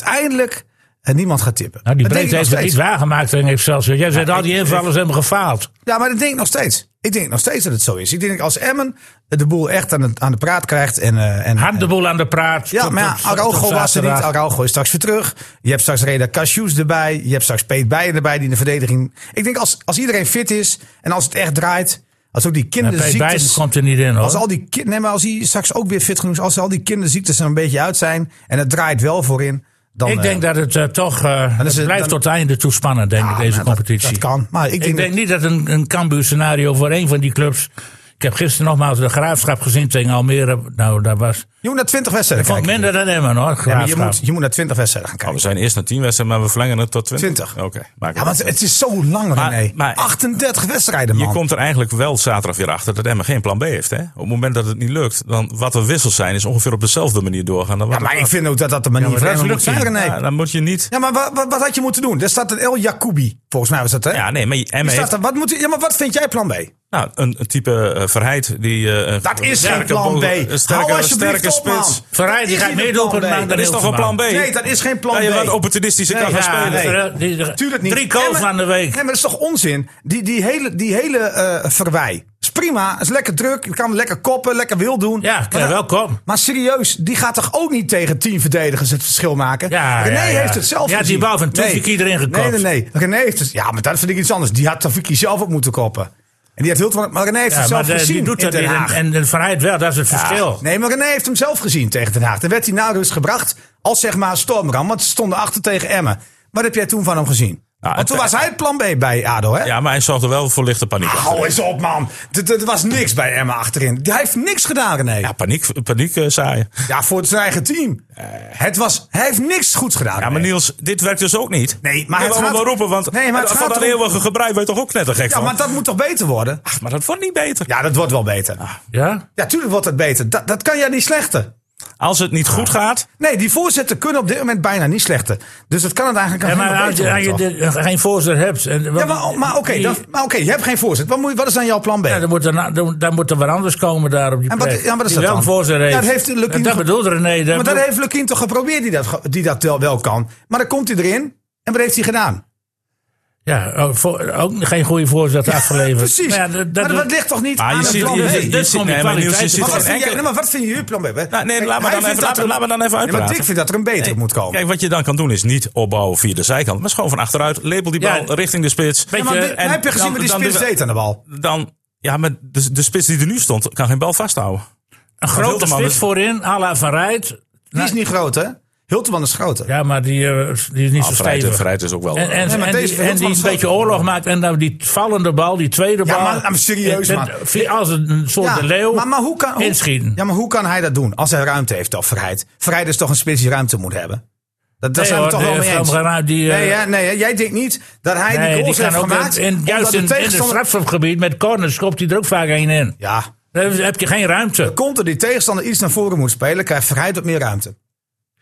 uiteindelijk eh, niemand gaat tippen. Nou, die Dat denk breedte ik nog heeft het steeds. niet waargemaakt in Excelsior. Jij zei al die invallers hebben gefaald. Ja, maar dat denk ik nog steeds. Ik denk nog steeds dat het zo is. Ik denk als Emmen de boel echt aan, het, aan de praat krijgt en, eh, en, Hand de boel aan de praat. Ja, Tot- maar ja, tot- Araujo tot was er niet. zaterdag. Araujo is straks weer terug. Je hebt straks Reda Cashews erbij. Je hebt straks Peet Bijen erbij die in de verdediging... Ik denk als, als iedereen fit is en als het echt draait... Als ook die En Pete Biden kinderziektes... komt er niet in, hoor. Als al die kind, nee, maar als hij straks ook weer fit genoeg is... Als al die kinderziektes er een beetje uit zijn... En het draait wel voorin... Dan, ik denk eh, dat het eh, toch... eh, het is het- blijft dan- tot het einde toe spannend, denk ik, ah, deze nou, dat- competitie. Dat, kan. Maar ik Ik denk, denk, niet dat een, een Cambuur-scenario voor één van die clubs... Ik heb gisteren nogmaals de Graafschap gezien tegen Almere. Nou, daar was... je moet naar 20 wedstrijden Vond ik kijken. minder dan Emmen, hoor. Ja, maar Graafschap. je, moet, je moet naar 20 wedstrijden gaan Oh, we kijken. zijn eerst naar 10 wedstrijden, maar we verlengen het tot 20. 20. Oké. maak Ja, het want uit. het is zo lang, Maar- René. maar- 38 wedstrijden, man. Je komt er eigenlijk wel zaterdag weer achter dat Emma geen plan B heeft. Hè? Op het moment dat het niet lukt, dan wat er wissels zijn, is ongeveer op dezelfde manier doorgaan. Dan wat ja, maar er- ik vind ook dat dat de manier maar van dat Emmen moet lukt zijn, niet. René. Ja, dan moet je niet. Ja, maar wat, wat, wat had je moeten doen? Er staat een El Jacoubi. Volgens mij was dat, hè? Ja, nee, maar Emma Die staat heeft er, wat moet, ja, maar wat vind jij plan B? nou, een, een type eh, Verheid die... eh, Dat een is geen sterke plan bol- B. Een sterke, Hou sterke alsjeblieft op, man. spits. Verheid, Dat die is gaat niet een meer plan doelpunten B. maken dan Dat is toch een plan B? Nee, dat is geen plan Dat je B. wat opportunistischer kan gaan spelen. nee. Ver- die- die- Tuurlijk niet. Drie goals Emmen- aan de Nee, week. maar dat is toch onzin? Die, die hele, die hele eh verwij. prima. is lekker druk. Je kan lekker koppen, lekker wil doen. Ja, Maar ja, dat- welkom. Maar serieus, die gaat toch ook niet tegen tien verdedigers het verschil maken? Ja, René ja, ja. heeft het zelf Die had die gezien. bal van Tufiki erin Nee, gekopt. nee, nee. René heeft het... Ja, maar dat vind ik iets anders. Die had Tafiki zelf op moeten koppen. En die had heel... Maar René heeft Ja, het zelf maar de- gezien die doet in dat Den niet. En, Haag. en, en vrijheid wel, dat is het verschil. Nee, maar René heeft hem zelf gezien tegen Den Haag. Dan werd hij na rust gebracht als zeg maar stormram. Want ze stonden achter tegen Emmen. Wat heb jij toen van hem gezien? Nou, want toen het- was hij het plan B bij ADO, hè? Ja, maar hij zorgde wel voor lichte paniek. Nou, Hou eens op, man. Er was niks bij Emma achterin. Hij heeft niks gedaan, René. Ja, paniek, paniek eh, zaaien. Ja, voor zijn eigen team. Het was, hij heeft niks goeds gedaan. Ja, maar René. Niels, dit werkt dus ook niet. Nee, maar Je het wil gaat- allemaal roepen, want eh, Nee, maar het van gaat dat om- eeuwige gebruik werd toch ook net een gek Ja, van. maar dat moet toch beter worden? Ach, Ah. maar dat wordt niet beter. Ja, dat wordt wel beter. Ja? Ja, tuurlijk wordt het beter. Dat, dat kan jij niet slechter. Als het niet goed gaat, Nee, die voorzetten kunnen op dit moment bijna niet slechter. Dus dat kan het eigenlijk Ja, alleen maar maar als beter je, als worden, je toch? dit, eh, geen voorzet hebt... En, Ja, maar, oh, maar oké, die- dat- maar oké, je hebt geen voorzet. Wat, moet, je- wat is dan jouw plan B? Ja, dan moet er, na- dan, dan moet er wat anders komen daar op die En wat- plek. ja, wat is Die dat dan? wel een voorzet Ja, heeft. dat heeft Lukien En dat ge- bedoelt René. Dat maar dat bedoelt- heeft Lukien toch geprobeerd die dat, ge- die dat wel, wel kan. Maar dan komt hij erin. En wat heeft hij gedaan? Ja, ook, voor- ook geen goede voorzet afgeleverd. Precies. Maar ja, dat, dat, maar dat ligt toch niet Ah, je aan het ziet- plan B? je ziet- dit dit komt nee, die maar Niels, je kwaliteit. ziet Maar Maar wat, geen vind wat- jij, enkele- nee, maar wat vind je je plan B? Nou, nee, Kijk, laat me hij dan vindt even- dat laat me- er- laat me dan even Nee, maar uitpraten. ik vind dat er een beter moet komen. Kijk, wat je dan kan doen is niet opbouwen via de zijkant. Maar gewoon van achteruit. Lepel die bal Ja. richting de spits. Beetje- Ja, maar dit- en heb je gezien dan- wat die dan spits doen we- deed aan de bal? Dan, ja, maar de, de spits die er nu stond, kan geen bal vasthouden. Een grote Hilterman spits is- voorin, à la Van Rijt. Die is niet groot, hè? Hilteman is groter. Ja, maar die, eh, die is niet zo Ah, Vrijheid, stevig. vrijheid is ook wel. eh, En, en, maar deze en, die, Hilterman en die is een beetje groot. oorlog maakt. En dan die vallende bal, die tweede Ja, bal. maar- maar serieus, En- man. en- Als een een soort Ja, de leeuw maar, maar hoe kan, hoe, inschieten. Ja, maar hoe kan hij dat doen als hij ruimte heeft op Verheid? Verheid is toch een spits die ruimte moet hebben? Dat, daar Nee, zijn we hoor, toch wel de mee eens. Van Gaal, die, eh, nee, hè, nee, hè, jij denkt niet dat hij Nee, die die goals heeft kan ook gemaakt. in, in- juist omdat de in, in het tegenstander- strafschopgebied met corners schopt hij er ook vaak een in. Ja, Dan heb je geen ruimte. komt er die tegenstander iets naar voren moet spelen, krijgt Verheid wat meer ruimte.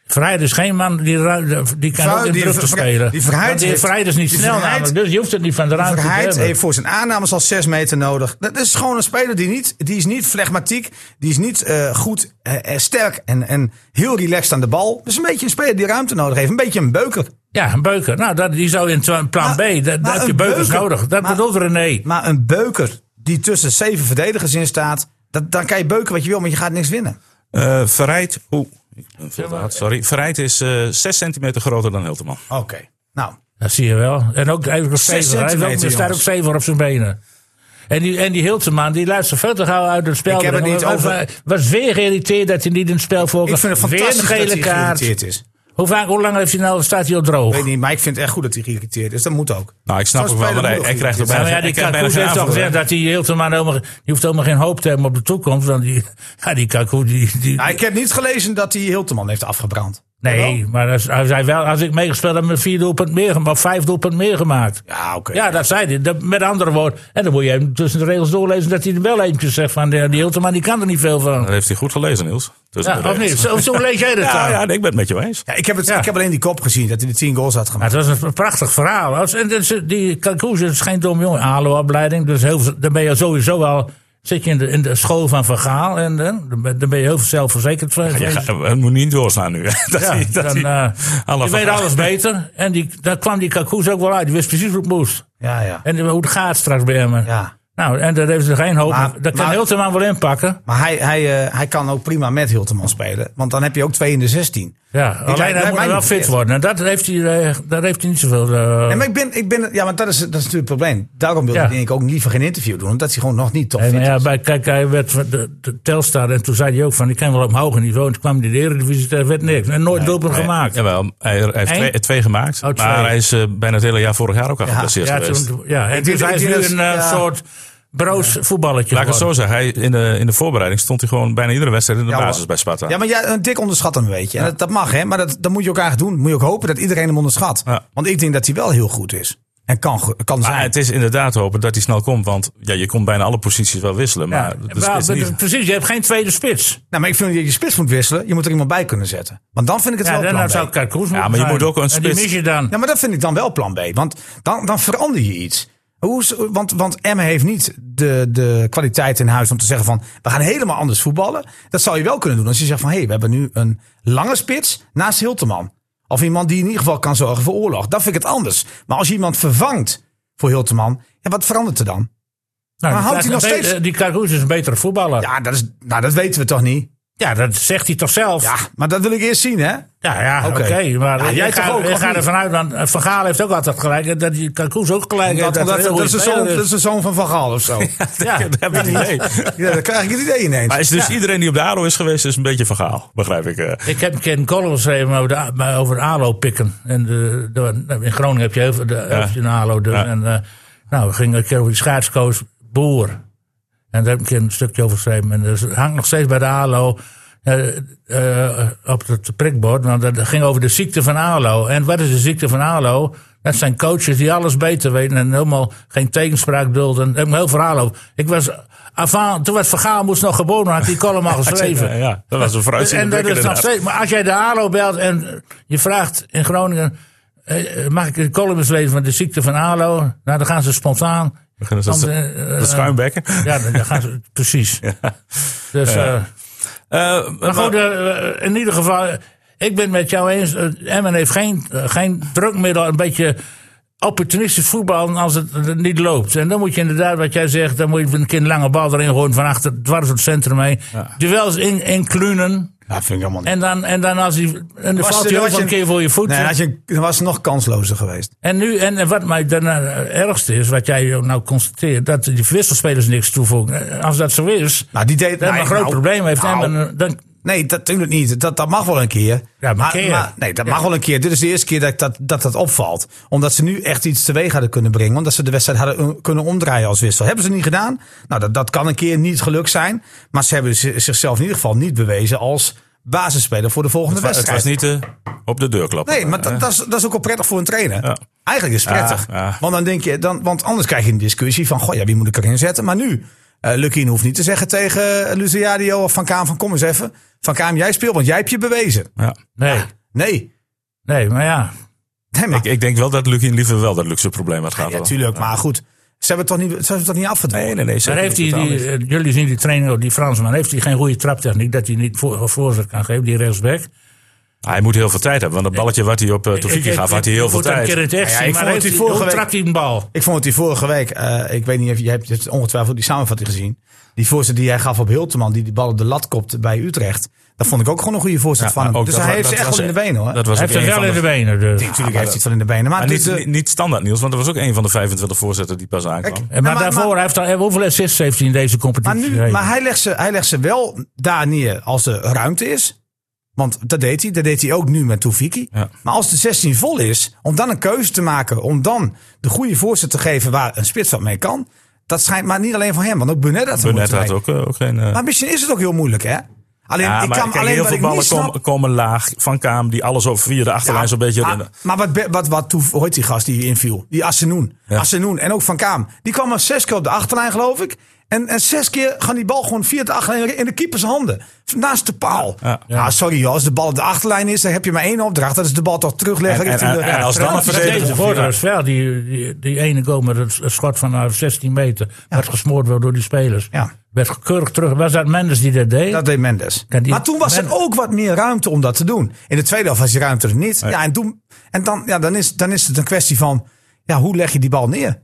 Vrijheid is dus geen man die, ru- die kan Vrij- ook in die druk te Vrij- spelen. die Vrijheid Want die heeft- Vrijheid is niet die snel Vrijheid- namelijk, dus je hoeft het niet van de ruimte Verheid te hebben. heeft voor zijn aannames al 6 meter nodig. Dat is gewoon een speler die niet, die is niet flegmatiek, die is niet eh, goed, eh, eh, sterk en, en heel relaxed aan de bal. Dat is een beetje een speler die ruimte nodig heeft. Een beetje een beuker. Ja, een beuker. Nou, dat, die zou in twa- plan Maar- B, maar daar- daar heb je een beukers beuker- nodig. Dat maar- bedoelt René. Maar een beuker die tussen zeven verdedigers in staat, dat, dan kan je beuken wat je wil, maar je gaat niks winnen. Eh, Verheid, oeh, ik ben veel te hard, sorry. Verheid is eh 6 centimeter groter dan Hilterman. Oké. Nou, Dat zie je wel. En ook even zeven. Hij heeft ook- centimeter, er staat ook jongens. zeven op zijn benen. En die, en die Hilteman, die luistert veel te gauw uit het spel. Ik heb het Hij niet was, over- was weer geïrriteerd dat hij niet in het spel voorkwam. ik vind het Weer een fantastisch gele dat hij kaart. geïrriteerd is. Hoe, vaak, hoe lang heeft hij nou, staat hij al droog? Ik weet niet, maar ik vind het echt goed dat hij geïrriteerd is. Dat moet ook. Nou, ik snap Zo'n ook wel, maar speler hij, moet hij ook krijgt er geïrriteerd bijna, Ja, maar ja, hij die krijgt bijna Kakoes geen heeft al aanvoer. gezegd dat hij Hilterman helemaal, die hoeft helemaal geen hoop te hebben op de toekomst. Want die, ja, die Kakoes, die, die- Nou, ik heb niet gelezen dat hij Hilteman heeft afgebrand. nee, maar als, als, hij wel, als ik meegespeeld heb, met vier doelpunt meer gemaakt, of vijf doelpunt meer gemaakt. Ja, oké. Ja, dat zei hij. Dat, met andere woorden. En dan moet je even tussen de regels doorlezen dat hij er wel eentje zegt van, eh, die, die Hilterman die kan er niet veel van. Dat heeft hij goed gelezen, Niels. Tussen Ja, de of regels. niet? Zo, zo lees jij dat Ja, dan. ja, nee, ik ben het met je eens. Ja, ik, heb het, ik heb alleen die kop gezien dat hij de 10 goals had gemaakt. Maar het was een prachtig verhaal. Als- En dat is- die Kalkoes is geen dom jongen. ALO-opleiding, dus heel, veel- dan ben je sowieso al... Zit je in de, in de school van Vergaal en eh, dan ben dan ben je heel veel zelfverzekerd. van. Je gaat- het moet niet doorslaan nu. hè, dat Ja, hij, dat dan, hij eh, alle je van- weet alles beter. En die, daar kwam die Kakoes ook wel uit. Die wist precies hoe het moest. Ja, ja. En hoe het gaat straks bij hem. Ja. Nou, en daar heeft ze geen hoop. Maar- dat kan maar- Hilterman wel inpakken. Maar hij, hij, eh, hij kan ook prima met Hilteman spelen. Want dan heb je ook twee in de 16. Ja, alleen lijkt- hij lijkt moet mij wel niet fit verkeerd. worden. En dat heeft hij, eh, daar heeft hij niet zoveel... eh, Nee, maar ik ben, ik ben, ja, want dat is, dat is natuurlijk het probleem. Daarom wil Ja. ik denk ik ook liever geen interview doen. Omdat hij gewoon nog niet top Nee, fit maar is. ja, bij, kijk, hij werd van de, de Telstar en toen zei hij ook van... ik ken wel op een hoger niveau. En toen kwam hij in de Eredivisie, daar werd niks. En nooit doelpunt Nee, gemaakt. Jawel, hij, hij heeft Eén? twee, twee gemaakt. Oh, twee. Maar hij is eh, bijna het hele jaar vorig jaar ook al geplaceerd Ja, geweest. toen, ja. En Ik denk- dus hij ik is denk nu dat- een eh, ja. soort broos voetballetje Laat ik het geworden. zo zeggen, hij, in, de, in de voorbereiding stond hij gewoon bijna iedere wedstrijd in de Ja, basis hoor. bij Sparta. Ja, maar ja, een dik onderschat hem, weet je. En dat, dat mag, hè. Maar dat, dat moet je ook eigenlijk doen. Moet je ook hopen dat iedereen hem onderschat. Ja. Want ik denk dat hij wel heel goed is. En kan, go- kan Maar zijn. het is inderdaad hopen dat hij snel komt. Want ja, je komt bijna alle posities wel wisselen. Ja. Maar de Maar- spits niet. Precies, je hebt geen tweede spits. Nou, maar ik vind dat je je spits moet wisselen. Je moet er iemand bij kunnen zetten. Want dan vind ik het Ja, wel dan plan nou B. zou Karkoes Ja, maar moeten je zijn. moet ook een En die spits- mis je dan. Ja, maar dat vind ik dan wel plan B. Want dan, dan verander je iets. Hoe, is- want, want Emmen heeft niet de, de kwaliteit in huis om te zeggen van... we gaan helemaal anders voetballen. Dat zou je wel kunnen doen als je zegt van... hé, hey, we hebben nu een lange spits naast Hilteman. Of iemand die in ieder geval kan zorgen voor oorlog. Dat vind ik het anders. Maar als je iemand vervangt voor Hilteman... Ja, wat verandert er dan? Nou, Maar die houdt hij nog Kar- steeds- eh, Die Karkoes is een betere voetballer. Ja. Ja, dat, is, nou, dat weten we toch niet? dat zegt hij toch zelf? Ja, maar dat wil ik eerst zien, hè? ja, ja, oké. Oké. maar Ja, ik jij ga, toch ook, ik of ga niet? er vanuit, want eh, Van Gaal heeft ook altijd gelijk. eh, Dat die Karkoes ook gelijk heeft. Omdat, dat omdat- hij een dat, is goede de zoon, speler dat is de zoon van Van Gaal of zo. dus- Ja, Dat heb ik niet mee. Ja, dan krijg ik het idee ineens. Maar is dus iedereen die op de ADO is geweest, is een beetje vergaal. Begrijp ik. eh. Ik heb een keer een column geschreven over, de, A- maar over ALO pikken. En de, de- nou, in Groningen heb je heel veel de, heb je een ALO. doen. Ja. En, eh, nou, we gingen een keer over die schaatscoach Boer. En daar heb ik een keer een stukje over geschreven. En dat hangt nog steeds bij de ALO eh, eh, op het prikbord. Want dat ging over de ziekte van ALO. En wat is de ziekte van ALO? Dat zijn coaches die alles beter weten en helemaal geen tegenspraak dulden. Daar heb ik een heel verhaal over. Ik was, avant, toen was Vergaal moest nog geboren, had ik die column al geschreven. Ja, ja, dat was een vooruitziende En dat blik is nog inderdaad. steeds. Maar als jij de ALO belt en je vraagt in Groningen. eh, eh, Mag ik een column lezen van de ziekte van ALO? Nou, dan gaan ze spontaan. Beginnen ze dat- Want, eh, eh, dat schuimbekken. Ja, dan dan gaan ze. Precies. Dus. eh, Eh, maar- maar goed, eh, eh, in ieder geval, eh, ik ben het met jou eens. eh, Emmen heeft geen, eh, geen drukmiddel, een beetje opportunistisch voetbal als het eh, niet loopt. En dan moet je inderdaad, wat jij zegt, dan moet je een keer een lange bal erin gooien van achter, dwars door het centrum heen. Duels in, in klunen. dat vind ik allemaal niet. En dan, en dan als hij. En dan Was valt er- hij ook was wel je- een keer voor je voet. Nee, had je, dan was het nog kanslozer geweest. En nu, en en wat mij daarna het ergste is, wat jij nou constateert, dat die wisselspelers niks toevoegen. Eh, Als dat zo is, Nou, die deed dan hebben we een groot nou, probleem. Heeft nou, Emmen, eh, dan, Nee, dat natuurlijk niet. Dat, dat mag wel een keer. maar keer. nee, dat mag wel een keer. Dit is de eerste keer dat dat, dat dat opvalt. Omdat ze nu echt iets teweeg hadden kunnen brengen. Omdat ze de wedstrijd hadden eh, kunnen omdraaien als wissel. Hebben ze niet gedaan? Nou, dat, dat kan een keer niet geluk zijn. Maar ze hebben zi- zichzelf in ieder geval niet bewezen als basisspeler voor de volgende Maar het wedstrijd. was niet eh, op de deur klappen. Nee, maar dat, dat, is, dat is ook wel prettig voor een trainer. eh? Ja. Eigenlijk is het prettig. Ja, ja. Want, dan denk je, dan, want anders krijg je een discussie van... Goh, ja, wie moet ik erin zetten? Maar nu, eh Lukien hoeft niet te zeggen tegen Luciadio of Van Kaam... van kom eens even, Van Kaam, jij speelt, want jij hebt je bewezen. Ja. nee, Nee, nee, maar ja. nee maar, Ik, ik denk wel dat Lukien liever wel dat luxe probleem had gehad. ja, tuurlijk, maar goed. Ze hebben het toch niet, ze hebben het toch niet afgedwongen? nee, nee, nee. Daar zeker heeft hij niet, totaal die, niet. eh, jullie zien die trainer, die Fransman, heeft hij geen goede traptechniek dat hij niet voor, voorzet kan geven, die rechtsback. Hij moet heel veel tijd hebben, want dat balletje wat hij op eh, Tofiki Ik- gaf, ik- had hij heel ik veel moet dat tijd. een keer in het echt Ja, zien, ik maar vond heeft die hij, vorige hoe week- trapt hij een bal? Ik vond het die vorige week, eh, ik weet niet of je, je hebt het ongetwijfeld die samenvatting gezien. Die voorzet die hij gaf op Hilteman, die die bal op de lat kopte bij Utrecht. Dat vond ik ook gewoon een goede voorzet Ja, van maar hem. ook Dus dat hij wa- heeft ze dat echt was- wel in de benen hoor. Dat was Hij ook heeft er een wel van in de benen. Dus. Natuurlijk heeft hij het wel in de benen. Maar, Maar het niet, is, eh, niet, niet standaard, Niels, want dat was ook een van de 25 voorzetten die pas aankwam. En Eh, maar, Ja, maar- daarvoor maar- heeft hij, hoeveel assists heeft hij in deze Maar, competitie? nu, gegeven? maar hij, legt ze, hij legt ze wel daar neer als er ruimte is. Want dat deed hij. Dat deed hij ook nu met Toefiki. Ja. Maar als de 16 vol is, om dan een keuze te maken. Om dan de goede voorzet te geven waar een spits wat mee kan. Dat schijnt maar niet alleen van hem. Want ook Burnett had, er Burnett moeite had mee. ook, eh, ook geen... eh, Maar misschien is het ook heel moeilijk hè. Alleen, ja, ik maar kan kijk, alleen heel wat veel ik niet ballen snap. komen, komen laag van Kaam, die alles over via de achterlijn zo'n beetje... Maar, Ah, maar wat, be- wat, wat toe, hoe heet die gast die inviel? Die Assenoen. Ja. Assenoen en ook Van Kaam. Die kwam maar zes keer op de achterlijn, geloof ik. En, en zes keer gaan die bal gewoon via de achterlijn in de keepers handen. Naast de paal. Ja. Nou, sorry joh, als de bal op de achterlijn is, dan heb je maar één opdracht. Dat is de bal toch terugleggen. En- en- richting de- en- en als dan een Ja, Maar verdediger- deze voordracht wel, die, die, die ene goal met het schot van eh, 16 meter, werd gesmoord wel door die spelers. Ja. Werd keurig terug. Was dat Mendes die dat deed? Dat deed Mendes. Kan die- maar toen was Mendes- er ook wat meer ruimte om dat te doen. In de tweede helft was die ruimte er niet. Ja, en toen, en dan, ja, dan, is, dan is het een kwestie van ja, hoe leg je die bal neer?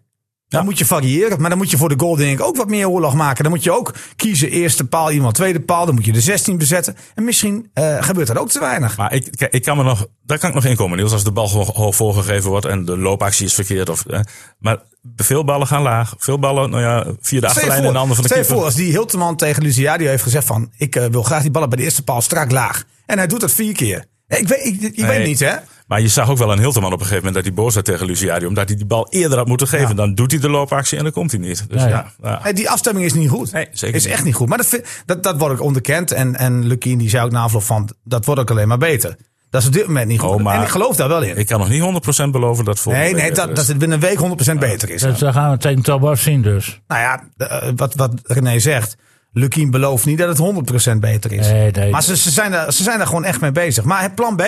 Dan moet je variëren. Maar dan moet je voor de goal denk ik ook wat meer oorlog maken. Dan moet je ook kiezen eerste paal, iemand tweede paal. Dan moet je de 16 bezetten. En misschien eh, gebeurt dat ook te weinig. Maar ik, kijk, ik kan me nog, daar kan ik nog in komen, Niels. Als de bal gewoon hoog voorgegeven wordt en de loopactie is verkeerd. Of, eh, maar veel ballen gaan laag. Veel ballen nou ja, via de Stel je achterlijn voor- en de handen van de stel je keeper. voor als die Hilteman tegen Luciadio heeft gezegd van... ik eh, wil graag die ballen bij de eerste paal strak laag. En hij doet dat vier keer. Ik weet, ik, ik Nee. weet niet hè. Maar je zag ook wel aan Hilterman op een gegeven moment dat hij boos werd tegen Luciadio. Omdat hij die bal eerder had moeten geven. Dan doet hij de loopactie en dan komt hij niet. Dus Ja, ja, ja. ja. Nee, die afstemming is niet goed. Nee, zeker is niet. echt niet goed. Maar dat, vind- dat, dat wordt ook onderkend. En, en Lukien die zei ook na afloop van, dat wordt ook alleen maar beter. Dat is op dit moment niet goed. Oh, maar- en ik geloof daar wel in. Ik kan nog niet 100% beloven dat volgende nee, week eh, nee, beter dat, is. dat het binnen een week 100% beter is. Dat, dat gaan we tegen Tabas zien dus. Nou ja, eh, wat, wat René zegt. Lukien belooft niet dat het 100% beter is. Nee, nee. Maar ze, ze, zijn er, ze zijn er gewoon echt mee bezig. Maar het plan B,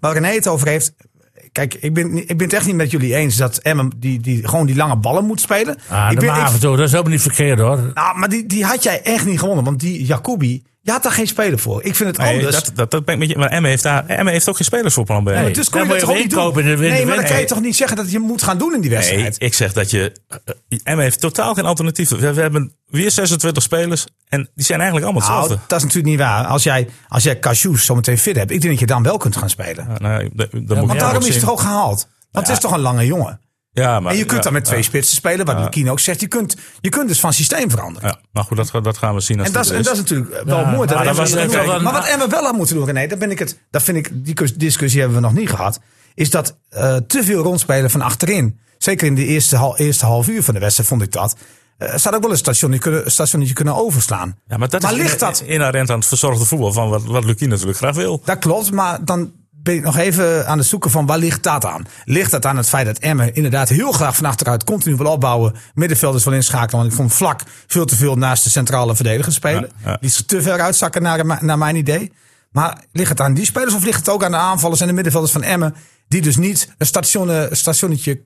waar René het over heeft. Kijk, ik ben, niet- ik ben het echt niet met jullie eens dat Emmen die, die, gewoon die lange ballen moet spelen. Ah, ik de ben, ik- Maven, dat is helemaal niet verkeerd hoor. Nou, maar die, die had jij echt niet gewonnen. Want die Jacobi, Je had daar geen speler voor. Ik vind het Nee, anders. dat, dat, dat ben ik met je. Maar Emme heeft, daar, Emme heeft ook geen spelers voor plan B. Maar Nee, dus Dan kon je dat moet je toch ook niet hem doen? inkopen en dan nee, winnen, maar dan winnen. kan je toch niet zeggen dat je moet gaan doen in die wedstrijd? ik zeg dat je. eh, Emme heeft totaal geen alternatief. We, we hebben weer 26 spelers. En die zijn eigenlijk allemaal Nou, hetzelfde. dat is natuurlijk niet waar. Als jij, als jij Casius zometeen fit hebt, ik denk dat je dan wel kunt gaan spelen. Ja, nou, ja, dat- dat moet je Want ook daarom is zien. het toch ook gehaald. Want het is toch een lange jongen. Ja, maar, En je kunt ja, dan met twee ja, spitsen spelen, wat Lukien ook zegt. Je kunt, je kunt dus van systeem veranderen. Ja, maar goed, dat, ga- dat gaan we zien. Als En dat, is, het er en is. dat is natuurlijk eh, wel Ja, mooi. Dat maar dat Emma was- dat kijk, doet. maar wat Emma wel aan moeten doen, René, daar ben ik het, daar vind ik, die kus- discussie hebben we nog niet gehad. Is dat eh, te veel rondspelen van achterin. Zeker in de eerste, hal, eerste half uur van de wedstrijd vond ik dat. Eh, Er zou ook wel een stationnetje kunnen, stationnetje kunnen overslaan. Ja, maar dat is ligt dat? inherent aan het verzorgde voetbal van wat, wat Lukien natuurlijk graag wil. Dat klopt, maar dan ben ik nog even aan het zoeken van waar ligt dat aan? Ligt dat aan het feit dat Emmen inderdaad heel graag van achteruit continu wil opbouwen, middenvelders wil inschakelen, want ik vond vlak veel te veel naast de centrale verdediger spelen. Ja, ja. Die is te ver uitzakken naar, naar mijn idee. Maar ligt het aan die spelers of ligt het ook aan de aanvallers en de middenvelders van Emmen, die dus niet een station, eh, stationnetje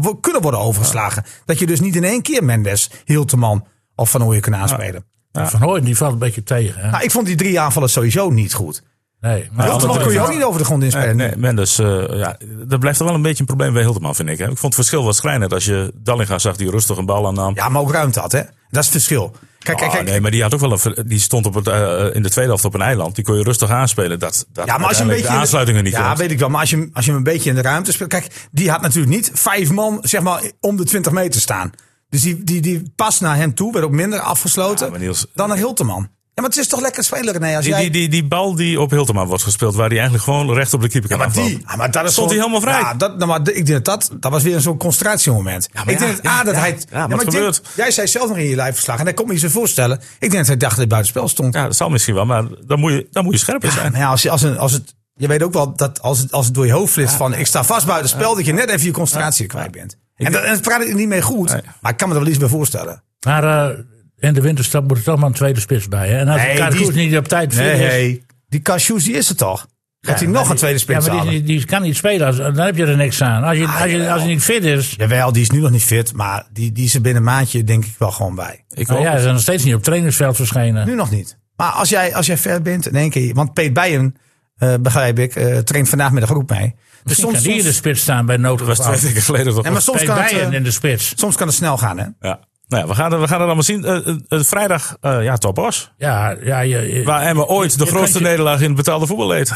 wo- kunnen worden overgeslagen? Dat je dus niet in één keer Mendes, Hilteman of Van Ooyen kunt aanspelen. Van Hooyen die valt een beetje tegen. Hè? Nou, ik vond die drie aanvallers sowieso niet goed. Nee, maar Hilteman drie kon je wel. ook niet over de grond Nee, inspelen. nee, Mendes, eh, ja, dat blijft toch wel een beetje een probleem bij Hildeman, vind ik. Hè? Ik vond het verschil wat schrijnend als je Dallinga zag die rustig een bal aannam. Ja, maar ook ruimte had, hè? Dat is het verschil. Kijk, kijk, Ah, kijk. nee, maar die, had ook wel een, ver- die stond op het, eh, in de tweede helft op een eiland. Die kon je rustig aanspelen. Dat, dat Ja, maar als je een uiteindelijk beetje. de aansluitingen niet Ja, krijgt. weet ik wel. Maar als je, als je hem een beetje in de ruimte speelt. Kijk, die had natuurlijk niet vijf man, zeg maar, om de 20 meter staan. Dus die, die, die pas naar hem toe werd ook minder afgesloten Ja, maar Niels- dan naar Hilteman. Ja, maar het is toch lekker spelen, René? Als Die, jij, die, die, die bal die op Hilterman wordt gespeeld, waar die eigenlijk gewoon recht op de keeper kan maar aflopen. die, ja, maar dat is Stond gewoon- hij helemaal vrij? Ja, dat, nou, maar de- ik denk dat dat, dat was weer zo'n concentratiemoment. maar ik ja, denk dat, ja, A, dat ja, hij... ja, maar wat ik denk- gebeurt? jij zei zelf nog in je lijfverslag, en dat kon me niet zo voorstellen. Ik denk dat hij dacht dat hij buitenspel stond. Ja, dat zal misschien wel, maar dan moet je, dan moet je scherper zijn. Nou ja, als, je- als, een, als het. Je weet ook wel dat als het, als het door je hoofd flitst van ik sta vast buiten spel, dat je net even je concentratie kwijt bent. En dat, en dat praat ik niet mee goed, Nee. maar ik kan me er wel iets bij voorstellen. Maar eh, in de winterstap moet er toch maar een tweede spits bij. Hè? En als Nee, nee, die is- niet op tijd fit is... Die Cashews, die is er toch? Gaat hij nog een tweede spits ja, maar halen? Ah, die, die, die kan niet spelen. Als, dan heb je er niks aan. Als, je, als, je, als hij niet fit is... Jawel, die is nu nog niet fit, maar die, die is er binnen een maandje denk ik wel gewoon bij. Oh, Ik Nou hoop- ja, ze zijn nog steeds niet op trainingsveld verschenen. Nu nog niet. Maar als jij, als jij ver bent in één keer, want Peet Bijen, eh, begrijp ik, eh, traint vandaag middag ook mee. Dus Soms soms, kan die in de soms, spits staan bij Dat was noodgeval. twee weken geleden toch? nee, maar soms, Bij kan het, Bijen eh, in de spits. soms kan het snel gaan, hè? Ja. Nou ja, we gaan, er- we gaan het allemaal zien. Eh, eh, eh, vrijdag, eh, ja, topos. Ja, ja je, je- Waar Emma ooit de je grootste kunt je- nederlaag in het betaalde voetbal leed.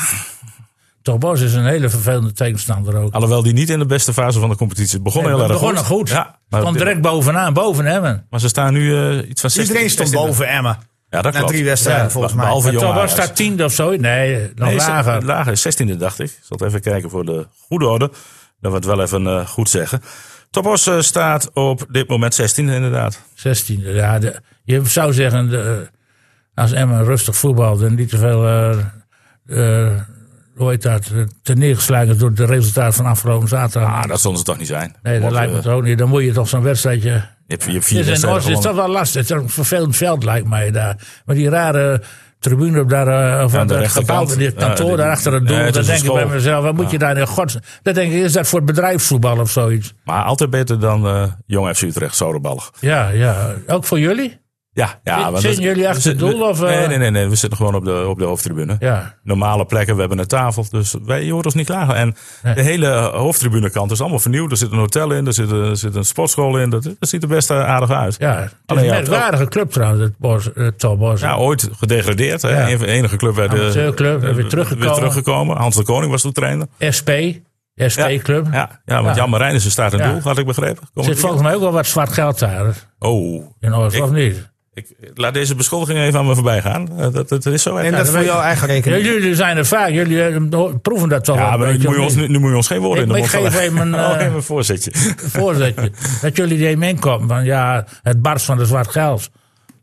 Toch Bos is een hele vervelende tegenstander ook. Alhoewel die niet in de beste fase van de competitie. Het begon Oh, heel Het erg begon nog goed. goed. Ja, maar, Kwam direct bovenaan, boven hem. maar ze staan nu eh, iets van 16. Iedereen Dus stond 16. boven Emmen. Ja, dat Na klopt. drie wedstrijden Ja, volgens be- mij. Behalve Jong Toch was Ajax. daar tiende of zo. Nee, nog Nee, ze- lager. Lager, 16e dacht ik. Ik zal het even kijken voor de goede orde. Dat we het wel even eh, goed zeggen. Topos eh, staat op dit moment 16e inderdaad. 16. Ja, de- je zou zeggen, de, eh, als Emma rustig voetbalt en niet te veel eh, eh, hoe heet dat, eh, terneergeslagen is door de resultaat van afgelopen zaterdag. Ah, dat zullen ze toch niet zijn. nee, dat Want, lijkt me eh, toch ook niet. Dan moet je toch zo'n wedstrijdje... Je hebt, je hebt vier Het is, in Oost, wedstrijden het is toch gewonnen. wel lastig. Het is een vervelend veld, lijkt mij, daar. Maar die rare tribune op daar, eh, of Ja, aan aan de dat gebouw, rechterkant. dit Ja, kantoor die- daar achter het doel. Nee, het dan is een denk ik bij school. mezelf, wat moet je daar in godsnaam... Dan denk ik, is dat voor het bedrijfsvoetbal of zoiets? Maar altijd beter dan eh, Jong FC Utrecht, zodenballig. Ja, ja. Ook voor jullie? Ja, ja. Zit- want zitten dat- jullie achter we- het doel, we- of, eh? Nee, nee, nee, nee. We zitten gewoon op de, op de hoofdtribune. Ja. Normale plekken, we hebben een tafel. Dus wij, je hoort ons niet klagen. En Nee. de hele hoofdtribunekant is allemaal vernieuwd. Er zit een hotel in, er zit een, er zit een sportschool in. Dat, dat ziet er best eh, aardig uit. Ja, het is Alleen een ja, merkwaardige club trouwens, het Bos, het Tobos. Ja, ooit gedegradeerd. Hè? Ja. Een van de enige club bij de Amateurclub, eh, weer teruggekomen. teruggekomen. Hans de Koning was toen trainer. SP, SP-club. Ja, ja want Ja. Jan Marijnissen staat in Ja. doel, had ik begrepen. Kom Er zit volgens mij ook wel wat zwart geld daar Oh, in Oost, Ik- of niet? ik, laat deze beschuldiging even aan me voorbij gaan. Eh, Dat, dat, dat is zo. hè? En dat voor jouw eigen Ja, rekening. jullie zijn er vaak, jullie eh, proeven dat toch wel ja, een maar nu beetje, moet, je of ons, niet? nu nu moet je ons geen woorden Ik- in de ik mond geef leggen. even een, Oh, eh, even een voorzetje. Voorzetje. dat jullie er mee inkomen van ja, het barst van de zwart geld.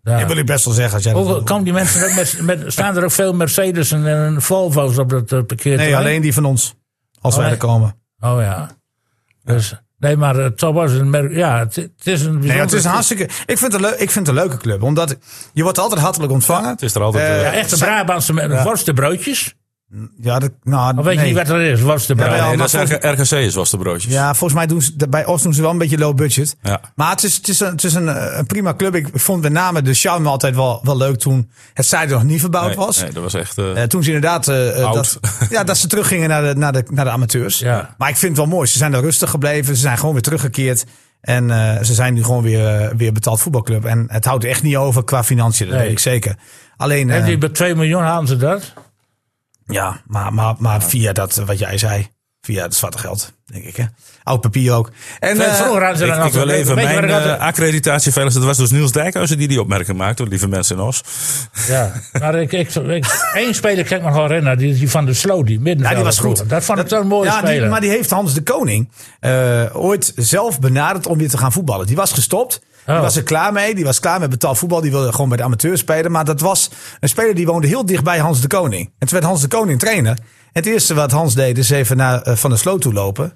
Ja. Dat wil ik best wel zeggen. Als jij dat Hoeveel- wil. komen die mensen ook met, met, staan er ook veel Mercedes en, en Volvo's op dat eh, parkeerterrein? nee, alleen die van ons. Als wij Alleen. er komen. Oh ja. Dus, nee, maar het Tobos is een merk, ja, het, het is een Nee, bijzonder- het is een hartstikke. Ik vind het, een leu- ik vind het een leuke club. Omdat je wordt altijd hartelijk ontvangen. Het is er altijd. Eh, eh, Ja, echte Brabantse met worstenbroodjes. Ja, dat, nou, Maar weet nee. je niet wat er is? Wat is de Jawel. bruid? maar nee, dat is volgens- RKC is was de broodjes. Ja, volgens mij doen ze, bij Oost doen ze wel een beetje low budget. Ja. Maar het is, het is, een, het is een, eh, een prima club. Ik vond met name de charme altijd wel, wel leuk toen Oh, het stadion nog niet verbouwd nee, was. nee, dat was echt. eh, Eh, toen ze inderdaad eh, eh, Oud. dat, ja, dat ze teruggingen naar de, naar de, naar de amateurs. Ja. Maar ik vind het wel mooi. Ze zijn er rustig gebleven. Ze zijn gewoon weer teruggekeerd. En eh, ze zijn nu gewoon weer, eh, weer betaald voetbalclub. En het houdt echt niet over qua financiën. Dat Nee. weet ik zeker. Alleen, eh, Hebben die bij 2 miljoen halen ze dat? ja, maar, maar, maar via dat eh, wat jij zei. Via het zwarte geld, denk ik. Hè? Oud papier ook. En, eh, Vroeger hadden ze ik, dan ik altijd- wil even weet je mijn waar ik altijd- eh, accreditatie veilig. Dat was dus Niels Dijkhuizen die die opmerking maakte, door lieve mensen in Os. Ja, maar ik, ik, ik- één speler kan ik me nog herinneren, die, die van de Sloot, die middenvelder. Ja, Nou, die was vroeger. goed. Dat vond ik zo'n mooie ja, die- speler. maar die heeft Hans de Koning eh, ooit zelf benaderd om weer te gaan voetballen. Die was gestopt. Die Oh. was er klaar mee. Die was klaar met betaald voetbal. Die wilde gewoon bij de amateur spelen. Maar dat was een speler die woonde heel dicht bij Hans de Koning. En toen werd Hans de Koning trainer. En het eerste wat Hans deed is even naar eh, Van der Sloot toe lopen. Een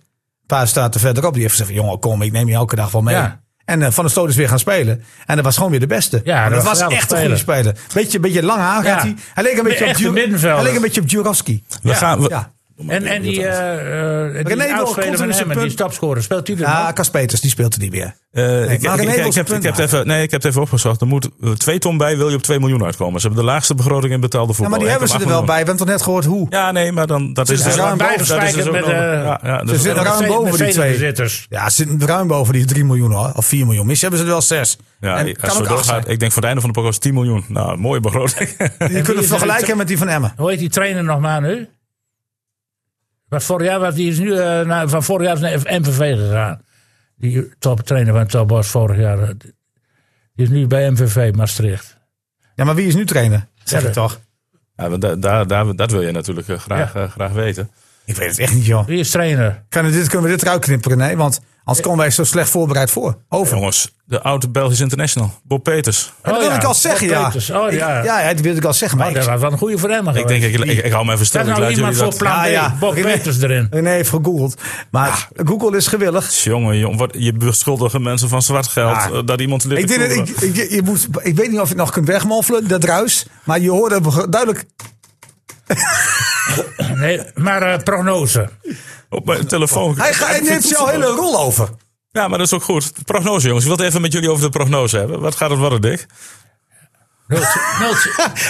paar straten verderop. Die heeft gezegd, jongen kom, ik neem je elke dag wel mee. Ja. En eh, Van der Sloot is weer gaan spelen. En dat was gewoon weer de beste. Ja, En dat dat was was een echt een goede geweldige speler. Beetje, beetje lang haar Ja. had hij. Hij leek een beetje op, Echte Djur- middenvelder. hij leek een beetje op Djurovski. We gaan, we, Ja. en, en die, eh eh René die Wol oudspeler komt van in zijn Emmen, die punt. stapscorer, speelt die er Ja, nog? Kas Peters, die speelt er niet meer. eh, ik, maar ik- René ik- wil ik zijn heb, ik punt heb het even, nee, ik heb het even opgezocht. Er moet eh, twee ton bij, wil je op 2 miljoen uitkomen. Ze hebben de laagste begroting in betaalde Ja, voetbal. maar die hebben ze er 1,8 wel miljoen. bij. We hebben toch net gehoord hoe. Ja, nee, maar dan dat is zitten dus ruim dat is boven. dus ook Met, nodig. eh, ja, ja, dus Ze dat- zitten ruim Mercedes- boven die twee. Mercedes-zitters. Ja, ze zitten ruim boven die 3 miljoen hoor. Of 4 miljoen. Misschien hebben ze er wel 6. ja, en als kan het ook zo 8 doorgaat, zijn. ik denk voor het einde van de podcast 10 miljoen. Nou, mooie begroting. Je kunt is het er vergelijken met die van Emmen. Hoe heet die trainer nog maar nu? Was vorig jaar, was, die is nu eh, naar- van vorig jaar is naar MVV gegaan. Die toptrainer van Top Bos vorig jaar. eh, Die is nu bij MVV Maastricht. Ja, maar wie is nu trainer? Zeg het toch? ja, want da- daar, daar, dat wil je natuurlijk eh, graag, eh, graag weten. Ik weet het echt niet, joh. Wie is trainer? Kan het- dit, kunnen we dit eruit knipperen? Nee, want anders komen wij zo slecht voorbereid voor. Oh, Over. Jongens, de oude Belgisch international, Bob Peters. En dat Oh wil ja, ik al zeggen, Bob ja. Peters. Oh Ik- ja. Ja, dat wil ik al zeggen. Maar Oh, dat ik- was wel een goede voor Emmen Ik denk, ik, ik, ik hou me even stil. Dat is Ik nou laat iemand jullie voor dat... plan Ja, B, ja. Bob René- Peters erin. René heeft gegoogeld. Maar Ah. Google is gewillig. Jongen, jongen, wat, je beschuldigt mensen van zwart geld. Ja. eh, dat iemand Ik, denk dat ik, ik, je moet, ik weet niet of je het nog kunt wegmoffelen, dat ruis. Maar je hoorde beg- duidelijk Nee, maar eh, prognose. op mijn telefoon. Hij, ga, hij neemt jouw hele rol over. Ja, maar dat is ook goed. De prognose, jongens. Ik wil het even met jullie over de prognose hebben. Wat gaat het worden, Dick? Oh. Nou,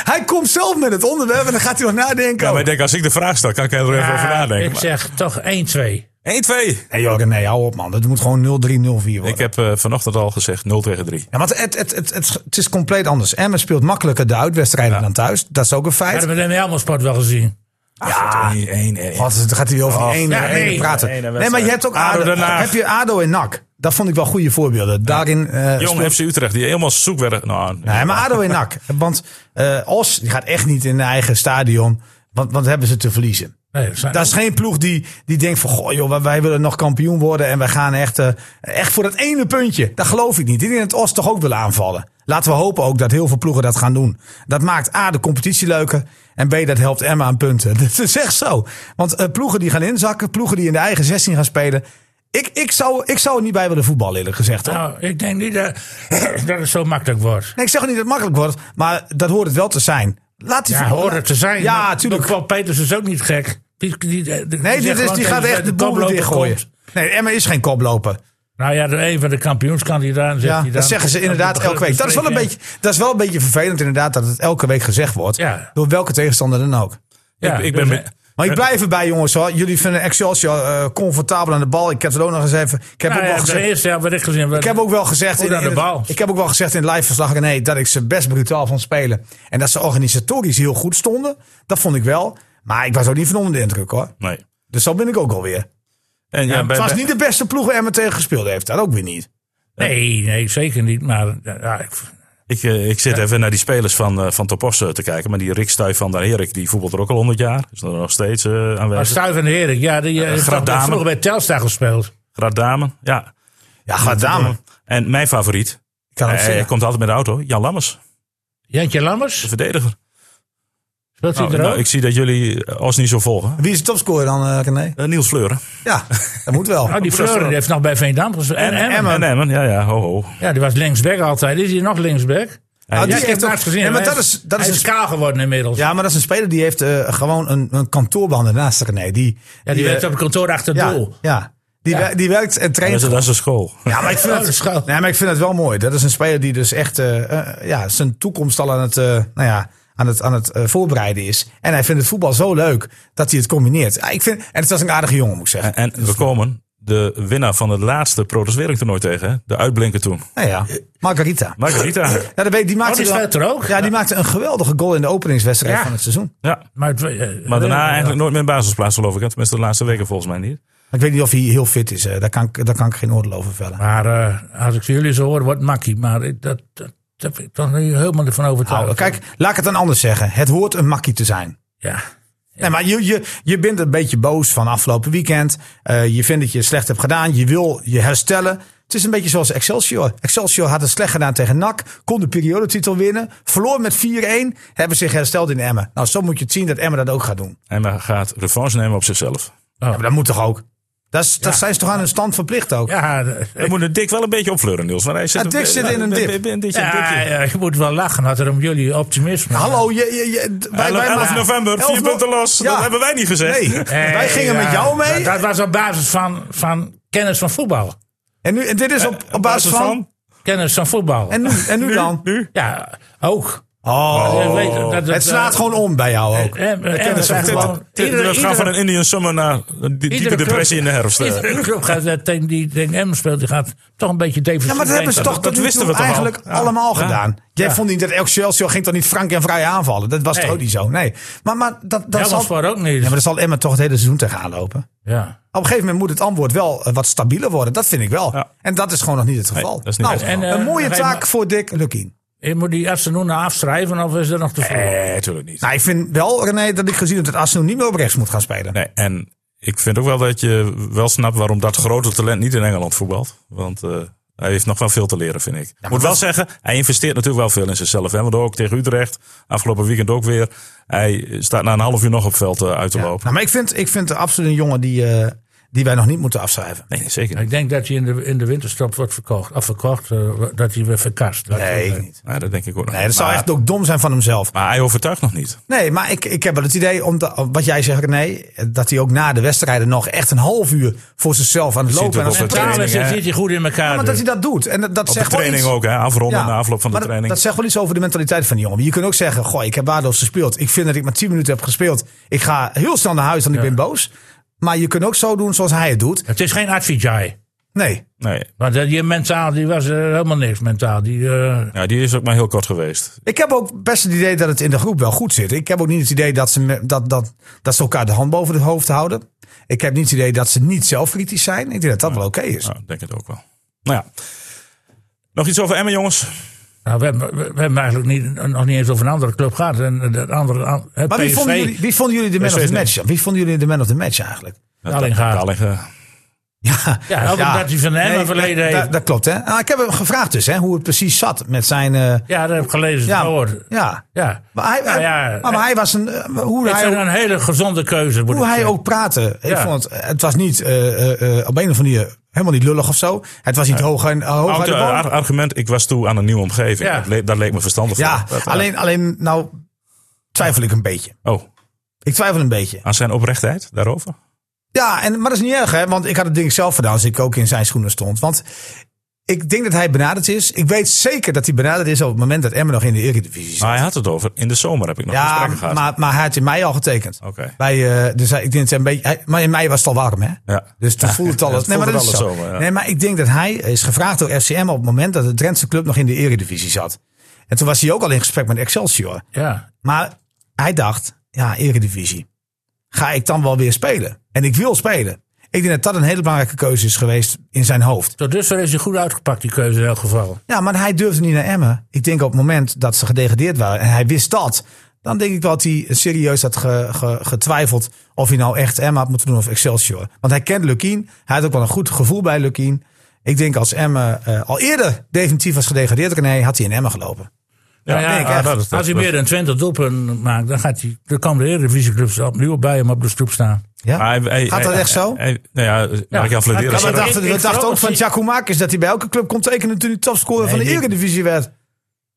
Hij komt zelf met het onderwerp en dan gaat hij nog nadenken. Ja, maar ik denk, als ik de vraag stel, kan ik er even over Ah, ik nadenken. zeg toch 1-2. 1, 2. Nee, joh, nee, hou op man. Het moet gewoon 0-3-0-4 worden. Ik heb eh, vanochtend al gezegd 0 tegen 3. Ja, want het, het, het, het, het is compleet anders. Emmen speelt makkelijker de uitwedstrijden dan thuis. Dat is ook een Dat feit. hebben we in de Helmersport wel gezien. Ah. Ja, 1, 1, 1. Wat, dan gaat hij weer over die ene, ja, nee. ene praten. Ene wedstrijd. nee, maar je hebt ook ADO ADO, Den Haag. heb je ADO en NAC. Dat vond ik wel goede voorbeelden. Daarin eh, Jong speelt- FC Utrecht, die helemaal zoek werden. Nou, Nee, maar ADO en NAC. Want eh, Os die gaat echt niet in eigen stadion. Want, want hebben ze te verliezen. Nee, dat zijn- Dat is geen ploeg die, die denkt van... Goh, joh, wij- wij willen nog kampioen worden. En wij gaan echt, eh, echt voor dat ene puntje. Dat geloof ik niet. Ik denk dat Oost toch ook wil aanvallen. Laten we hopen ook dat heel veel ploegen dat gaan doen. Dat maakt A, de competitie leuker. En B, dat helpt Emma aan punten. Dat is echt zo. Want eh, ploegen die gaan inzakken. Ploegen die in de eigen 16 gaan spelen. Ik, ik, zou, ik zou er niet bij willen voetballen eerlijk gezegd. hoor. Nou, ik denk niet dat, dat het zo makkelijk wordt. Nee, ik zeg ook niet dat het makkelijk wordt. Maar dat hoort het wel te zijn. Laat die Ja, voetballen- hoort het te zijn. Ja, Maar tuurlijk. Bob Peters is ook niet gek. Die, die, die- die Nee, zegt dit is, gewoon die tegen gaat echt de boel weer koploper dichtgooien. komt. Nee, Emma is geen koploper. Nou ja, de, een van de kampioenskandidaten zegt Ja, hij dat dan. zeggen ze inderdaad Dat elke week. Dat is, wel een beetje, dat is wel een beetje vervelend inderdaad dat het elke week gezegd wordt. Ja. Door welke tegenstander dan ook. Ja, ik, ik ben... dus, met- Maar ik blijf erbij jongens hoor. Jullie vinden Excelsior eh, comfortabel aan de bal. Ik heb het ook nog eens even... Ik heb, Nou ook, ja, wel de gezegd, eerste helft werd ik gezien. ik heb ook wel gezegd... Goed aan de het- bal. ik heb ook wel gezegd in het liveverslag René, dat ik ze best brutaal vond spelen. En dat ze organisatorisch heel goed stonden. Dat vond ik wel. Maar ik was ook niet van onder de indruk hoor. Nee. Dus dat ben ik ook alweer. En ja, bij- Het was bij- niet de beste ploeg waar Emmen tegen gespeeld heeft. Dat ook weer niet. Nee, nee, zeker niet. Maar ja, ik, Ik, eh, ik zit even naar die spelers van, eh, van Topos eh, te kijken. Maar die Rick Stuy van der Herik, die voetbalt er ook al 100 jaar. Is er nog steeds eh, maar aanwezig. Stuy van de Herik, ja, die eh, heeft Graf toch Dame. vroeger bij Telstar gespeeld. Graad Damen, ja. Ja, gaat dame. En mijn favoriet, Oh, Ik kan het hij, hij zeggen. komt altijd met de auto, Jan Lammers, Jantje de Lammers, verdediger. speelt hij Oh, Nou, er nou, ook? ik zie dat jullie eh, Os niet zo volgen. Wie is de topscorer dan eh, René? Eh, Niels Fleuren. Ja, dat moet wel. oh, die Fleuren die heeft nog bij Veendam gespeeld. En, en, En Emmen, ja, ja, ho, ho. Ja, die was linksback altijd. Is hij nog linksback? Nou, die ja, ik heb heeft ook- naast gezien. Ja, maar hij dat is- is- dat hij is is een- kaal geworden inmiddels. Ja, Ja, maar dat is een speler die heeft eh, gewoon een, een kantoorbaan ernaast. René. Die, die, werkt eh, op het kantoor achter het ja, doel. ja. Die, wer- die werkt en Dat traint. is, dat is de school. Ja, maar ik vind Oh, dat is het, goud. nee, maar ik vind het wel mooi. Dat is een speler die dus echt eh, eh, ja, zijn toekomst al aan het, eh, nou ja, aan het, aan het eh, voorbereiden is. En hij vindt het voetbal zo leuk dat hij het combineert. Ja, ik vind, en het was een aardige jongen, moet ik zeggen. En, en we komen de winnaar van het laatste Protos Wereldtoernooi tegen. hè? De uitblinker toen. Nou ja, Margarita. Margarita. Ja, dat weet- die maakte Oh, die dan- speelt er ook? Ja, die maakte een geweldige goal in de openingswedstrijd Ja. van het seizoen. Ja. Maar, het- eh, Maar daarna eh, eigenlijk nooit meer in basisplaats geloof ik. hè? Tenminste de laatste weken volgens mij niet. Ik weet niet of hij heel fit is. eh, Daar kan ik, daar kan ik geen oordeel over vellen. Maar eh, als ik jullie zo hoor, wordt makkie. Maar ik- dat, dat, dat ben ik toch niet helemaal ervan overtuigd. Nou, kijk, laat ik het dan anders zeggen. Het hoort een makkie te zijn. Ja. Nee, maar je, je, je bent een beetje boos van afgelopen weekend. Eh, je vindt dat je het slecht hebt gedaan. Je wil je herstellen. Het is een beetje zoals Excelsior. Excelsior had het slecht gedaan tegen NAC. Kon de periodetitel winnen. Verloor met 4-1. Hebben zich hersteld in Emmen. Nou, zo moet je het zien dat Emmen dat ook gaat doen. En maar gaat revanche nemen op zichzelf. Ja, maar dat moet toch ook? Dat, is, dat zijn ze toch aan hun stand verplicht ook? Ja, eh, We moeten Dick wel een beetje opfleuren Niels. Want hij zit, Ja, Ah, Dick zit in een dip. in dit- ja, dipje. ja, je moet wel lachen als er om jullie optimisme. Hallo, je, je, je, d- wij, Hallo, wij 11 maken- november, 11 vier no- punten los. Ja. Dat hebben wij niet gezegd. Nee, Eh, wij gingen ja, met jou mee. Dat, dat was op basis van, van kennis van voetbal. En, nu, en dit is op, op basis van... Kennis van voetbal. En nu, en nu dan? ja, ook. Oh, Eh, weet- dat- dat- het slaat gewoon om bij jou ook. Eh, eh, en we zijn Dit- gewoon- dit- dit- iedere- we gaan van iedere- een Indian Summer naar een die- diepe Iedere club- depressie in de herfst. eh. Iedere club gaat eh, tegen die tegen Emmen speelt, die gaat toch een beetje defensief. Ja, maar dat hebben ze toch tot dat nu wisten toe we toch al? eigenlijk Ja. allemaal Ja. gedaan. Jij Ja. vond niet dat Excelsior ging toch niet frank en vrij aanvallen? Dat was Nee. toch ook niet zo? Nee. Maar, maar dat, dat Dat zal... was voor ook niet. Ja, maar dat zal Emma toch het hele seizoen tegenaan lopen. Ja. Op een gegeven moment moet het antwoord wel eh, wat stabieler worden. Dat vind ik wel. Ja. En dat is gewoon nog niet het geval. dat is niet nou, het geval. En, eh, een mooie nog taak even- voor Dick Lukien. Je moet die Arsenal nou afschrijven of is dat nog te vroeg? Nee, natuurlijk niet. Nou, ik vind wel, René, dat ik gezien heb dat Arsenal niet meer op rechts moet gaan spelen. Nee, en ik vind ook wel dat je wel snapt waarom dat grote talent niet in Engeland voetbalt. Want eh, hij heeft nog wel veel te leren, vind ik. Ik Moet wel zeggen, hij investeert natuurlijk wel veel in zichzelf. Hè? Want ook tegen Utrecht, afgelopen weekend ook weer. Hij staat na een half uur nog op veld eh, uit te lopen. Nou, maar ik vind, ik vind absoluut een jongen die, eh, die wij nog niet moeten afschrijven. Nee, nee, zeker niet. Ik denk dat hij in de, in de winterstop wordt verkocht. Of verkocht, eh, dat hij weer verkast. Dat- Nee, eh, niet. Ja, dat denk ik ook nog. nee dat zou maar, echt ook dom zijn van hemzelf. maar hij overtuigt nog niet. Nee, maar ik, ik heb wel het idee, omdat, wat jij zegt, nee, dat hij ook na de wedstrijden nog echt een half uur voor zichzelf aan het ziet lopen en het aan op het het praten training, Daarom is. is hè. zit hij goed in elkaar. dus. Maar dat hij dat doet. En dat, dat Op de zegt wel training iets. ook, hè? afronden Ja, na afloop van de maar dat- training. Dat zegt wel iets over de mentaliteit van die jongen. Je kunt ook zeggen, goh, ik heb waardeloos gespeeld. Ik vind dat ik maar 10 minuten heb gespeeld. Ik ga heel snel naar huis, want ik ben boos. Maar je kunt ook zo doen zoals hij het doet. Het is geen Advijay. Nee, Nee, Want eh, die mentaal, die was eh, helemaal niks mentaal. Die, eh, ja, die is ook maar heel kort geweest. Ik heb ook best het idee dat het in de groep wel goed zit. Ik heb ook niet het idee dat ze, me- dat, dat, dat ze elkaar de hand boven het hoofd houden. Ik heb niet het idee dat ze niet zelfkritisch zijn. Ik denk dat dat wel oké is. Nou, ik denk het ook wel. Nou ja. Nog iets over Emmen, jongens? nou, we, hebben, we hebben eigenlijk niet, nog niet eens over een andere club gehad. En, eh, dat andere, an- eh, Maar wie PSV, vonden, jullie, wie vonden jullie de man of PSV the match? Wie vonden jullie de man of the match eigenlijk? Dallinga. Dallinga. Ja, Ja, ook omdat hij van Emmen verleden da- heeft. Dat klopt, hè? Nou, ik heb hem gevraagd dus, hè, hoe het precies zat met zijn... eh, Ja, dat heb ik gelezen. ja, gehoord. ja. Ja. Maar hij, Nou ja, maar, maar hij was een... eh, hoe ik hij vind ook- het een hele gezonde keuze. Moet hoe ik hij zeggen. ook praatte. Ik Ja. vond het, het was niet eh, eh, eh, op een of andere manier helemaal niet lullig of zo. Het was niet hoog en hoog Oud, uit de eh, boom. ar- argument, ik was toe aan een nieuwe omgeving. Ja. Dat, le- dat leek me verstandig. Ja, Dat, eh, alleen, alleen nou twijfel ik een beetje. Oh, Ik twijfel een beetje. aan zijn oprechtheid daarover? Ja, en, maar dat is niet erg, hè? Want ik had het ding zelf gedaan als ik ook in zijn schoenen stond. Want ik denk dat hij benaderd is. Ik weet zeker dat hij benaderd is op het moment dat Emmen nog in de Eredivisie zit. Maar hij had het over, in de zomer heb ik nog Ja, gesprekken gehad. maar, maar hij had in mei al getekend. Oké. Bij, eh, dus hij, ik denk dat hij een beetje, hij- maar in mei was het al warm, hè? Ja. Dus toen voelde het al. ja, het nee, maar dat voelde is het zo. al zomer, ja. Nee, maar ik denk dat hij is gevraagd door FCM op het moment dat de Drentse club nog in de Eredivisie zat. En toen was hij ook al in gesprek met Excelsior. Ja. Maar hij dacht, ja, Eredivisie. Ga ik dan wel weer spelen? En ik wil spelen. Ik denk dat dat een hele belangrijke keuze is geweest in zijn hoofd. Tot dusver is hij goed uitgepakt, die keuze in elk geval. Ja, maar hij durfde niet naar Emmen. Ik denk op het moment dat ze gedegradeerd waren en hij wist dat. Dan denk ik wel dat hij serieus had ge- ge- getwijfeld of hij nou echt Emmen had moeten doen of Excelsior. Want hij kent Lukien. Hij had ook wel een goed gevoel bij Lukien. Ik denk als Emmen eh, al eerder definitief was gedegradeerd, René, had hij in Emmen gelopen. Nou denk ik ah, echt. dat is- als hij meer dan 20 doelpunten maakt, dan, gaat hij, dan kan de Eredivisieclubs opnieuw bij hem op de stoep staan. Ja? Maar hij- hij- Gaat dat hij- echt zo? hij- nou ja, Mark-Jan maar Vladeren kan we zei dat- dat- dachten, ik- we ik dachten verhoog ook van die- Jacco Marcus dat hij bij elke club kon tekenen toen hij topscorer van de die- Eredivisie werd.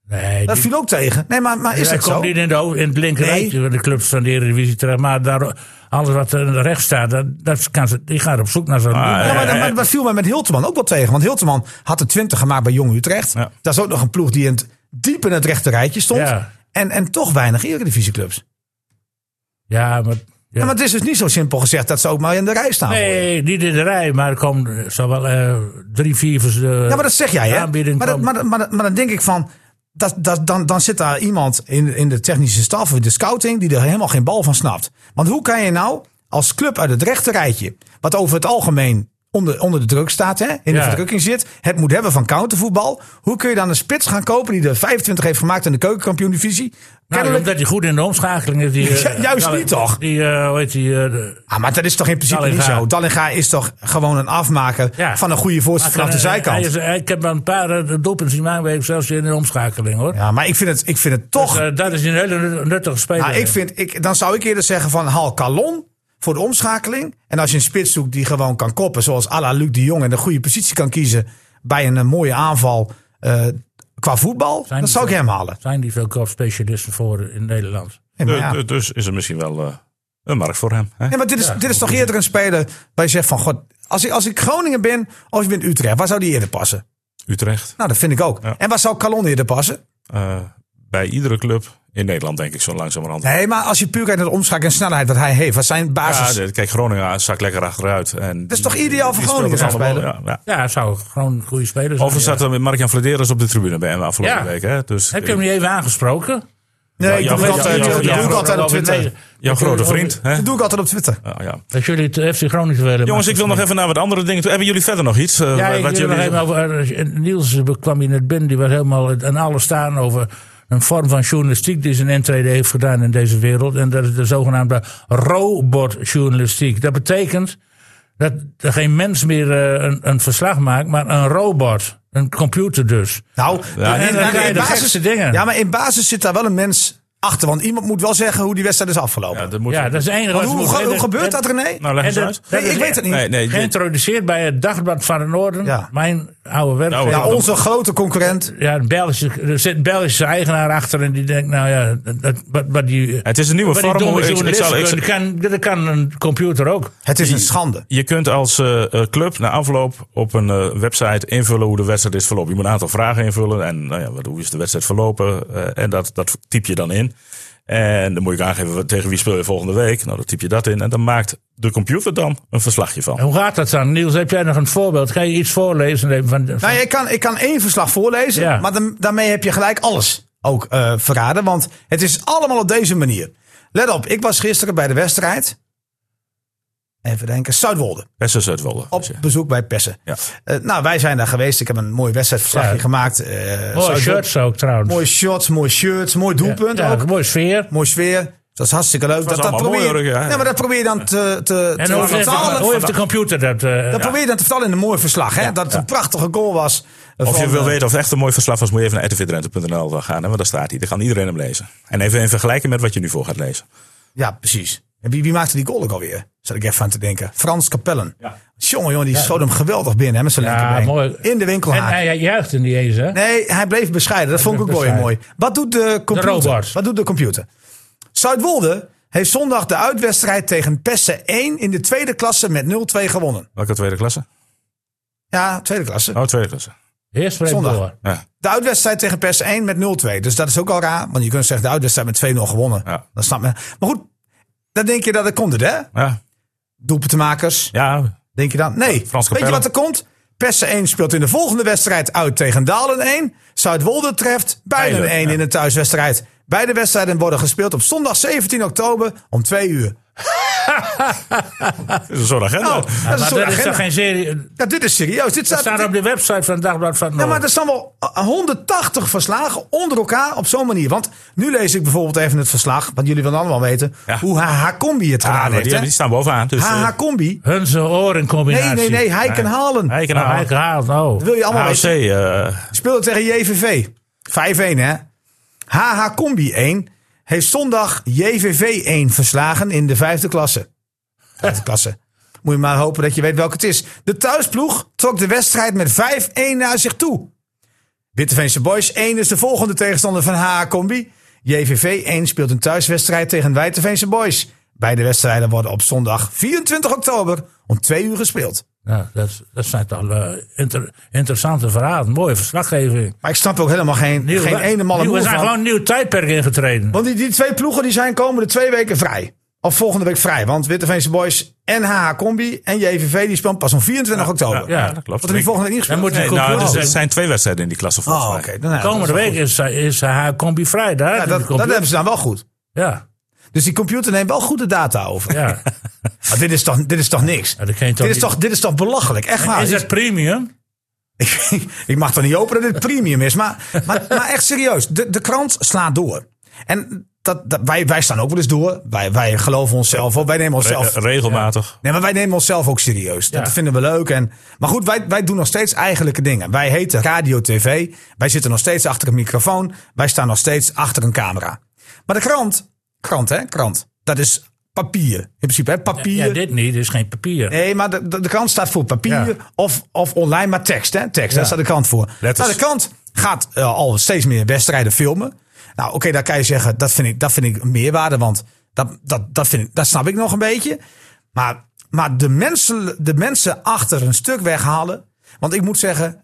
Nee, Dat die- viel ook tegen. Nee, maar, maar is Hij dat zo? komt niet in, de, ho- in het linkerrijtje van de clubs van de Eredivisie terecht. Maar daar, alles wat er rechts staat, dat, dat kan ze, die gaat op zoek naar zo'n... Ah, Ja, maar dat, Eh, maar dat viel mij met Hilteman ook wel tegen. Want Hilteman had de 20 gemaakt bij Jong Utrecht. Ja. Dat is ook nog een ploeg die in het, diep in het rechte rijtje stond. Ja. En, en toch weinig eredivisieclubs. ja, maar... Ja, Ja. maar het is dus niet zo simpel gezegd dat ze ook maar in de rij staan. voor je. Nee, niet in de rij, maar er komen zo wel eh, drie, vier... vers- eh, Ja, maar dat zeg jij, hè? Maar, Aanbieding dat, kwam- maar, dat- maar, dat- maar dan denk ik van... Dat, dat, dan, dan zit daar iemand in, in de technische staf of in de scouting... die er helemaal geen bal van snapt. Want hoe kan je nou als club uit het rechte rijtje... wat over het algemeen onder, onder de druk staat, hè, in de Ja. verdrukking zit... het moet hebben van countervoetbal... hoe kun je dan een spits gaan kopen die er 25 heeft gemaakt... in de keukenkampioen-divisie? Nou, Kennelijk- omdat hij goed in de omschakeling is. Die, eh, Ja, juist niet, toch? Die, eh, hoe heet die... eh, de- Ah, maar dat is toch in principe Dallinga. niet zo? Dallinga is toch gewoon een afmaker Ja. van een goede voorzet vanaf de Hij- zijkant? hij is- hij- ik heb wel een paar eh, doelpunten zien maken, weet ik, zelfs in de omschakeling, hoor. Ja, maar ik vind het, ik vind het toch. Dus, eh, dat is een hele nuttige speler. nou, ik vind, ik, dan zou ik eerder zeggen van haal Calon voor de omschakeling. En als je een spits zoekt die gewoon kan koppen, zoals à la Luc de Jong en een goede positie kan kiezen bij een, eh, mooie aanval eh, qua voetbal, dan die zou ik zo? hem halen. Zijn die veel kopspecialisten voor in Nederland? Nee, maar, Du- ja. du- Dus is er misschien wel eh, een markt voor hem. Hè? Nee, maar dit is, dit is toch eerder een speler waar je zegt van god, als ik, als ik Groningen ben of ik ben Utrecht, waar zou die eerder passen? Utrecht. Nou, dat vind ik ook. Ja. En waar zou Calon eerder passen? Eh, bij iedere club in Nederland denk ik zo langzamerhand. Nee, maar als je puur kijkt naar de omschakeling en snelheid wat hij heeft, wat zijn Ja, basis. de- kijk, Groningen ah, zakt lekker achteruit. En dat is toch ideaal voor Groningen Ja, ja. Ja, zou gewoon een goede speler zijn. Overigens zat er met Mark-Jan Flederis op de tribune bij hem afgelopen Ja. week. Hè? Dus, Ja. Heb je hem niet even aangesproken? nee, ik ja, doe het ja, altijd- ja, dat ja, doe ik ja, altijd op Robin, Twitter. nee. jouw grote vriend. Hè? Dat doe ik altijd op Twitter. Eh, Ja, ja. Dat jullie het FC Groningen willen. Jongens, ik wil nog even naar wat andere dingen toe. Hebben jullie verder nog iets? eh, Ja, wat ik wil nog jullie- even over, eh, Niels kwam hier net binnen. Die was helemaal aan alles staan over een vorm van journalistiek die zijn intrede heeft gedaan in deze wereld. En dat is de zogenaamde robotjournalistiek. Dat betekent dat er geen mens meer eh, een, een verslag maakt, maar een robot. Een computer dus. Nou, Ja, in- en dan in- krijg je in de gekste dingen. Ja, maar in basis zit daar wel een mens achter. Want iemand moet wel zeggen hoe die wedstrijd is afgelopen. Ja, dat moet Ja, dat is één Want hoe, hoe- hoe gebeurt dat, René? Nou, leg eens en de- uit. nee, ik weet het niet. Nee, nee, dit- Geïntroduceerd bij het Dagblad van het Noorden. Ja. Mijn oude werk. Nou, ja, ja, dat- onze grote concurrent. Ja, een Belgische, er zit een Belgische eigenaar achter en die denkt, nou ja, dat, wat, wat die... Het is een nieuwe wat die vorm. domme hoe- ik- ik zal- ik- journalisten kunnen, dat, kan, dat kan een computer ook. Het is een schande. Je kunt als eh, eh, club na afloop op een eh, website invullen hoe de wedstrijd is verlopen. Je moet een aantal vragen invullen. En nou ja, wat- hoe is de wedstrijd verlopen? Eh, en dat, dat typ je dan in. En dan moet je aangeven wat- tegen wie speel je volgende week. Nou, dan typ je dat in. En dan maakt de computer dan een verslagje van. En hoe gaat dat dan? Niels, heb jij nog een voorbeeld? Kan je iets voorlezen? Even Van, van, Nou, ik kan, ik kan één verslag voorlezen. Ja. Maar dan- daarmee heb je gelijk alles ook eh, verraden. Want het is allemaal op deze manier. Let op, ik was gisteren bij de wedstrijd. Even denken, Zuidwolde. Best uit Wolle. Op bezoek bij Pessen. Ja. Eh, nou, wij zijn daar geweest. Ik heb een mooi wedstrijdverslagje Ja. gemaakt. Eh mooie Zuidwolde- shirts ook trouwens. Mooie shots, mooie shirts, mooi doelpunt ja, ook. een mooie sfeer. Mooi sfeer. Dat is hartstikke leuk. Dat, dat allemaal probeer je, mooi, hoor, ja. Nee, maar dat probeer je dan te, te, En te hoe heeft, de, hoe vertalen. heeft de computer dat... eh, Dat probeer je dan te vertalen in een mooi verslag. Hè? Dat het een prachtige goal was. Of je Van, wil eh, weten of het echt een mooi verslag was, moet je even naar rtvdrenthe.nl dan gaan. Hè, want daar staat hij. Daar kan iedereen hem lezen. En even in vergelijken met wat je nu voor gaat lezen. Ja, precies. En wie, wie maakte die goal ook alweer? Zat ik even aan te denken. Frans Capellen. Jongen, jongen, die schoot hem geweldig binnen hè, met zijn Ja, linkerbeen. mooi. In de en winkelhaak. hij juichte niet eens, hè? Nee, hij bleef bescheiden. Dat vond ik ook bleef mooi. mooi. bescheiden. Wat doet de computer? robot. Wat doet de computer? Zuidwolde heeft zondag de uitwedstrijd tegen Pessen 1 in de tweede klasse met 0-2 gewonnen. Welke tweede klasse? Ja, tweede klasse. Oh, tweede klasse. Eerst vreemd Zondag. door. Ja. De uitwedstrijd tegen PES 1 met 0-2. Dus dat is ook al raar. Want je kunt zeggen, de uitwedstrijd met 2-0 gewonnen. Ja. Dat snap men. Maar goed, dan denk je dat er komt het, hè? Ja. Doelpuntenmakers. ja. Denk je dan? Nee. Frans Weet je Capelle. wat er komt? PES 1 speelt in de volgende wedstrijd uit tegen Dalen 1. Zuidwolde treft beiden Beide, 1 in een thuiswedstrijd. Beide wedstrijden worden gespeeld op zondag 17 oktober om 2 uur. Dat Ah, is zo'n agenda. Nou, dat is zo'n Maar dat is agenda. toch geen serie... Ja, dit is serieus. Dit Dat staat, staat op de website van het Dagblad van het Ja, maar Noorden. er staan wel 180 verslagen onder elkaar op zo'n manier. Want nu lees ik bijvoorbeeld even het verslag, want jullie willen allemaal weten Ja. hoe HH Combi het Ah, gedaan maar heeft. die, die hè? staan bovenaan. Dus, eh, HH Combi? Hunze oren Nee, combinatie. nee, nee, hij kan halen. Hij kan Nou, aan- hij gehaald, oh. Wil je allemaal AOC, weten? eh, Speelde tegen JVV. 5-1 hè? HH Combi 1 heeft zondag JVV 1 verslagen in de vijfde klasse. Vijfde klasse. Moet je maar hopen dat je weet welke het is. De thuisploeg trok de wedstrijd met 5-1 naar zich toe. Witteveense Boys 1 is de volgende tegenstander van HA Combi. JVV 1 speelt een thuiswedstrijd tegen Witteveense Boys. Beide wedstrijden worden op zondag 24 oktober om 2 uur gespeeld. Nou, dat, is- dat zijn toch eh, inter- interessante verhalen. Mooie verslaggeving. Maar ik snap er ook helemaal geen, Nieuw- geen ene malle nieuw- moe We zijn van. Oh, gewoon een nieuw tijdperk ingetreden. Want die, die twee ploegen die zijn komende twee weken vrij. Of volgende week vrij. Want Witteveense Boys en HH Combi en JVV die spelen pas om 24 oktober. ja, dat oh, klopt. Wordt er die volgende week niet Dan gespeeld? moet je Nee, conclusie nou, dus er trekken. zijn twee wedstrijden in die klasse volgens Oh, oké. mij. dan- ja, dat is Komende wel week goed. is, eh, is haar combi vrij. Daar Ja, heb je dat, de dat computer. hebben ze dan wel goed. Ja, Dus die computer neemt wel goede data over. ja. Maar dit is toch, dit is toch niks? Ja, dat kan je toch Dit is niet- toch, dit is toch belachelijk? Echt waar. Is dat premium? ik, ik mag toch niet hopen dat dit premium is. Maar, maar, maar echt serieus, de, de krant slaat door. En dat, dat, wij, wij staan ook wel eens door. Wij, wij geloven onszelf op. Wij nemen onszelf. Re- Eh, regelmatig. Nee, maar wij nemen onszelf ook serieus. Dat Ja. vinden we leuk. En, maar goed, wij, wij doen nog steeds eigenlijke dingen. Wij heten Radio TV. Wij zitten nog steeds achter een microfoon. Wij staan nog steeds achter een camera. Maar de krant, krant hè, krant. Dat is papier. In principe hè, papier. Ja, dit niet. Dit is geen papier. Nee, maar de, de, de krant staat voor papier Ja. of, of online, maar tekst. Hè? Tekst, daar Ja. staat de krant voor. Letters. Nou, de krant gaat eh, al steeds meer wedstrijden filmen. Nou, oké, daar kan je zeggen, dat vind ik, dat vind ik een meerwaarde, want dat, dat, dat, vind ik, dat snap ik nog een beetje. Maar, maar de, mensen, de mensen achter een stuk weghalen. Want ik moet zeggen,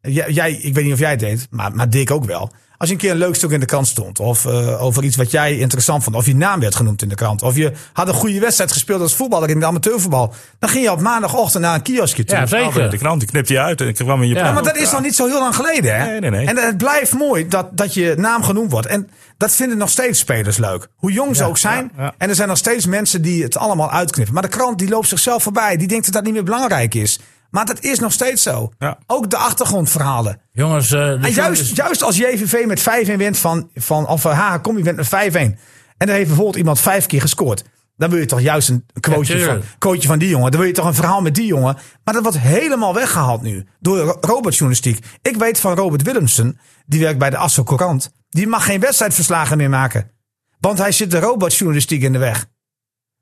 jij, jij- ik weet niet of jij het deed, maar, maar Dick ook wel. Als je een keer een leuk stuk in de krant stond, of eh, over iets wat jij interessant vond, of je naam werd genoemd in de krant, of je had een goede wedstrijd gespeeld als voetballer in de amateurvoetbal, dan ging je op maandagochtend naar een kioskje toe. Ja, De zeker. krant Oh, die knipt je uit en ik kwam in je Ja, plaat. Maar dat is nog niet zo heel lang geleden, hè? Nee, nee, nee. En het blijft mooi dat, dat je naam genoemd wordt. En dat vinden nog steeds spelers leuk. Hoe jong ze ook zijn. ja, ja. En er zijn nog steeds mensen die het allemaal uitknippen. Maar de krant die loopt zichzelf voorbij. Die denkt dat dat niet meer belangrijk is. Maar dat is nog steeds zo. Ja. Ook de achtergrondverhalen. Jongens, eh, de En juist, journalist- juist als JVV met 5-1 wint van, van of ha, kom je wint met 5-1. En dan heeft bijvoorbeeld iemand vijf keer gescoord. Dan wil je toch juist een quoteje, Ja, van, tuurlijk. quoteje van die jongen. Dan wil je toch een verhaal met die jongen. Maar dat wordt helemaal weggehaald nu. Door Ro- Robert-journalistiek. Ik weet van Robert Willemsen. Die werkt bij de Asso Courant. Die mag geen wedstrijdverslagen meer maken. Want hij zit de Robert-journalistiek in de weg.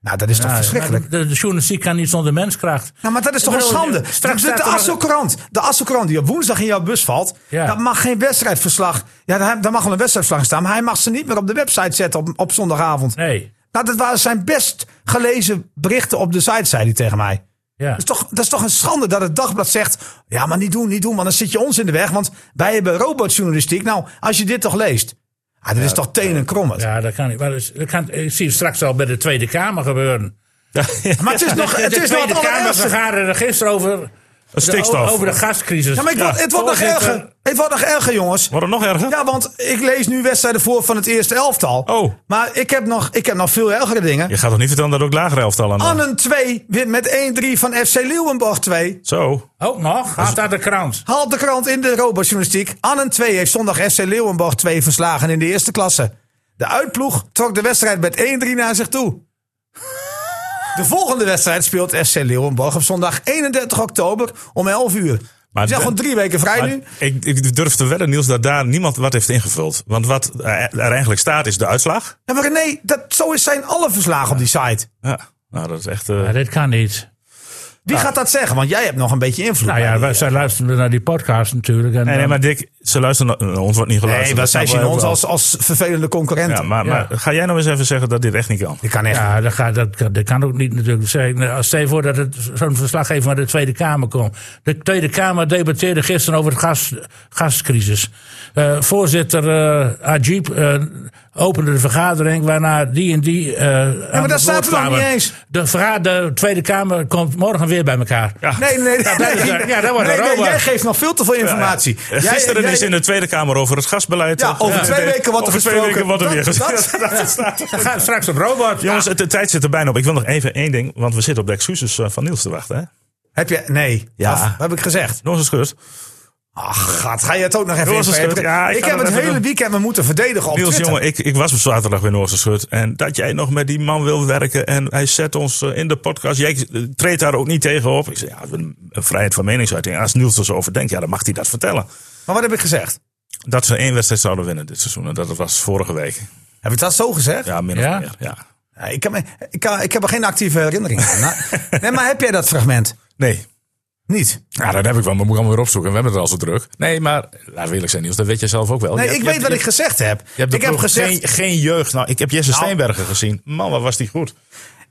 Nou, dat is toch Ja, verschrikkelijk. maar De, de journalistiek kan niet zonder menskracht. Nou, maar dat is toch Ik een bedoel, schande? straks de de staat er- Asselkrant. De Asselkrant die op woensdag in jouw bus valt. Ja. Dat mag geen wedstrijdverslag. Ja, daar, daar mag wel een wedstrijdverslag staan. Maar hij mag ze niet meer op de website zetten op, op zondagavond. Nee. Nou, dat waren zijn best gelezen berichten op de site, zei hij tegen mij. Ja. Dat is, toch, dat is toch een schande dat het dagblad zegt. Ja, maar niet doen, niet doen, want dan zit je ons in de weg. Want wij hebben robotjournalistiek. Nou, als je dit toch leest. Ah, dit is toch tenen krommend. Ja, dat kan niet. Maar dat is- dat kan, ik zie het straks al bij de Tweede Kamer gebeuren. Maar het is nog het de is nog Tweede het Kamer allerergste. vergaderde gisteren over, Een de, stikstof. over de gascrisis. Ja, maar ik word- het wordt nog voorzitter. erger. Het wordt nog erger, jongens. Wordt het nog erger? Ja, want ik lees nu wedstrijden voor van het eerste elftal. Oh. Maar ik heb nog, ik heb nog veel ergere dingen. Je gaat toch niet vertellen dat er ook lagere elftal aan doen? Annen 2 wint met 1-3 van FC Leeuwenborg 2. Zo. Ook nog? Gaat uit de krant. Haalt de krant in de robotjournalistiek. Annen 2 heeft zondag FC Leeuwenborg 2 verslagen in de eerste klasse. De uitploeg trok de wedstrijd met 1-3 naar zich toe. De volgende wedstrijd speelt FC Leeuwenborg op zondag 31 oktober om 11 uur. Maar Maar zijn de- gewoon drie weken vrij Maar nu. Ik, ik durf te wedden, Niels, dat daar niemand wat heeft ingevuld. Want wat er eigenlijk staat is de uitslag. Ja, maar René, dat, zo is zijn alle verslagen op die site. Ja. Nou, dat is echt... eh, Ja, dit kan niet. Wie gaat dat zeggen? Want jij hebt nog een beetje invloed. Nou bij ja, die- wij, zij luisteren naar die podcast natuurlijk. nee, En, nee, dan- maar Dick, ze luisteren... naar- eh, Ons wordt niet geluisterd. Nee, dat dat zij snappen zien wij ook ons wel. als, als vervelende concurrenten. Ja, maar, Ja. maar ga jij nou eens even zeggen dat dit echt niet kan? Ik kan echt. Ja, dat, gaat, dat, kan- dat kan ook niet natuurlijk. Zeg, nou, als- Stel je voor dat het zo'n verslaggever naar de Tweede Kamer komt. De Tweede Kamer debatteerde gisteren over de gas, gascrisis. Eh, voorzitter eh Ajib eh, opende de vergadering waarna die en die... eh ja, dat staat er nog niet eens. De, verga- de Tweede Kamer komt morgen weer bij elkaar. Nee, nee, nee. dat is- nee. ja, dat wordt een Nee, nee, robot. Jij geeft nog veel te veel informatie. Eh, Jij- Gisteren jij- is in de Tweede Kamer over het gasbeleid. eh, Ja, over twee weken wordt er over twee gesproken. weken wordt er weer Dat- gezegd. dat- Dat staat er. Dan gaat het straks op robot. Jongens, het- de tijd zit er bijna op. Ik wil nog even één ding, want we zitten op de excuses eh, van Niels te wachten. Hè? Heb je. Nee. Ja. Af- Heb ik gezegd. Nog eens schut. Ach, gaat. Ga je het ook nog even Jongens, in- het is goed. Ja, ik ik ga heb dat het even hele doen. weekend me moeten verdedigen op Niels, Twitter. jongen, ik, ik was op zaterdag weer Noorse Schut. En dat jij nog met die man wil werken. En hij zet ons eh, in de podcast. Jij eh, treedt daar ook niet tegen op. Ik zei, ja, een een vrijheid van meningsuiting. Als Niels er zo over denkt, ja, dan mag hij dat vertellen. Maar wat heb ik gezegd? Dat ze één wedstrijd zouden winnen dit seizoen. En dat was vorige week. Heb ik dat zo gezegd? Ja, min of Ja? meer. Ja. Ja, Ik, kan me- ik, kan, ik heb er geen actieve herinnering aan. Nou, nee, maar heb jij dat fragment? Nee. Niet. Ja, dat heb ik wel, maar moet ik allemaal weer opzoeken. We hebben het al zo druk. Nee, maar laat eerlijk zijn, Niels, dat weet je zelf ook wel. Nee, Je ik hebt- weet je wat ik hebt- gezegd heb. je hebt de ik heb ploeg- gezegd, Geen, geen jeugd. Nou, ik heb Jesse Nou. Steenbergen gezien. Man, wat was die goed.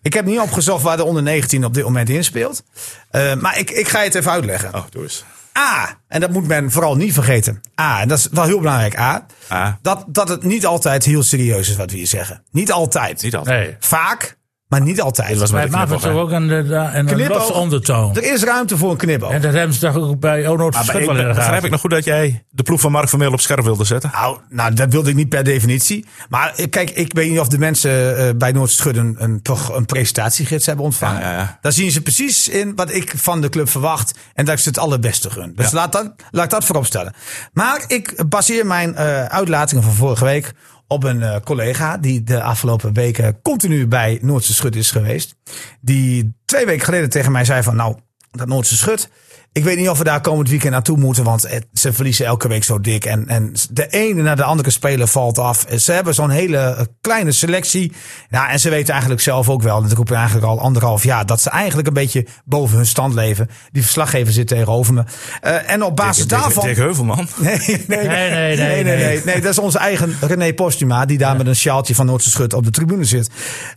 ik heb niet opgezocht waar de onder 19 op dit moment in speelt. Eh, maar ik, ik ga je het even uitleggen. Oh, doe eens. A, en dat moet men vooral niet vergeten. A, en dat is wel heel belangrijk. A, A. Dat, dat het niet altijd heel serieus is wat we hier zeggen. Niet altijd. Niet altijd. Nee. Vaak, maar niet altijd. Dit was maar Wij de maken knipoog, toch hè? ook een, eh, da- een, een Knipoog. los ondertoon. Er is ruimte voor een knipoog. En dat hebben ze toch ook bij Ono Maar ik Verschut wel in ben- de begrijp gaten. ik nog goed dat jij de ploeg van Mark Vermeel op scherp wilde zetten? Nou, nou, dat wilde ik niet per definitie. Maar eh, kijk, ik weet niet of de mensen eh, bij Noordschud een, een, toch een presentatiegids hebben ontvangen. Ja, ja, ja. Daar zien ze precies in wat ik van de club verwacht. En dat ik ze het allerbeste gun. Dus laat, dat, laat ik dat voorop stellen. Maar ik baseer mijn eh, uitlatingen van vorige week op een eh, collega die de afgelopen weken continu bij Noordse Schut is geweest. Die twee weken geleden tegen mij zei van nou, dat Noordse Schut... Ik weet niet of we daar komend weekend naartoe moeten, want het- ze verliezen elke week zo dik. En, en de ene naar de andere speler valt af. Ze hebben zo'n hele eh, kleine selectie. Ja, en ze weten eigenlijk zelf ook wel, en dat roep ik eigenlijk al anderhalf jaar, dat ze eigenlijk een beetje boven hun stand leven. Die verslaggever zit tegenover me. Eh, en op basis Dick- daarvan. Dick Heuvelman. Nee, nee, nee, nee, nee, nee, nee. Nee, dat is onze eigen René Postuma, die daar met een sjaaltje van Noordse Schut op de tribune zit.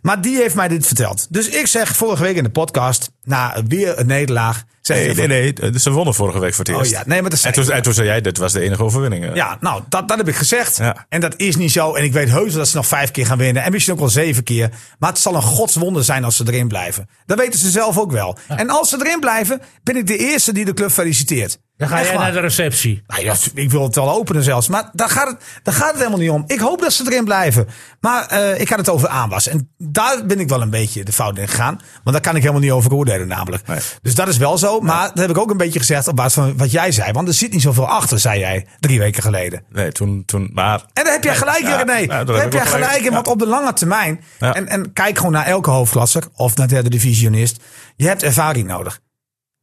Maar die heeft mij dit verteld. Dus ik zeg vorige week in de podcast, na weer een nederlaag, zeg ik Nee, van, nee, nee. Ze wonnen vorige week voor het Oh eerst. ja, nee, maar dat en, zei toen, en toen zei jij, dit was de enige overwinning. eh. Ja, nou, dat, dat heb ik gezegd. Ja. En dat is niet zo. En ik weet heus wel dat ze nog vijf keer gaan winnen. En misschien ook wel zeven keer. Maar het zal een godswonder zijn als ze erin blijven. Dat weten ze zelf ook wel. En als ze erin blijven, ben ik de eerste die de club feliciteert. Dan ga Echt jij waar. naar de receptie. Nou ja, ik wil het wel openen zelfs. Maar daar gaat, het, daar gaat het helemaal niet om. Ik hoop dat ze erin blijven. Maar eh, ik had het over aanwas. En daar ben ik wel een beetje de fout in gegaan. Want daar kan ik helemaal niet over oordelen namelijk. Nee. Dus dat is wel zo. Maar dat heb ik ook een beetje gezegd op basis van wat jij zei. Want er zit niet zoveel achter, zei jij drie weken geleden. Nee, toen, toen, maar En daar heb jij gelijk in, ja, René. ja, daar daar heb ik heb jij wel gelijk. gelijk in, Ja. want op de lange termijn... Ja. En, en kijk gewoon naar elke hoofdklasser of naar derde divisionist. Je hebt ervaring nodig.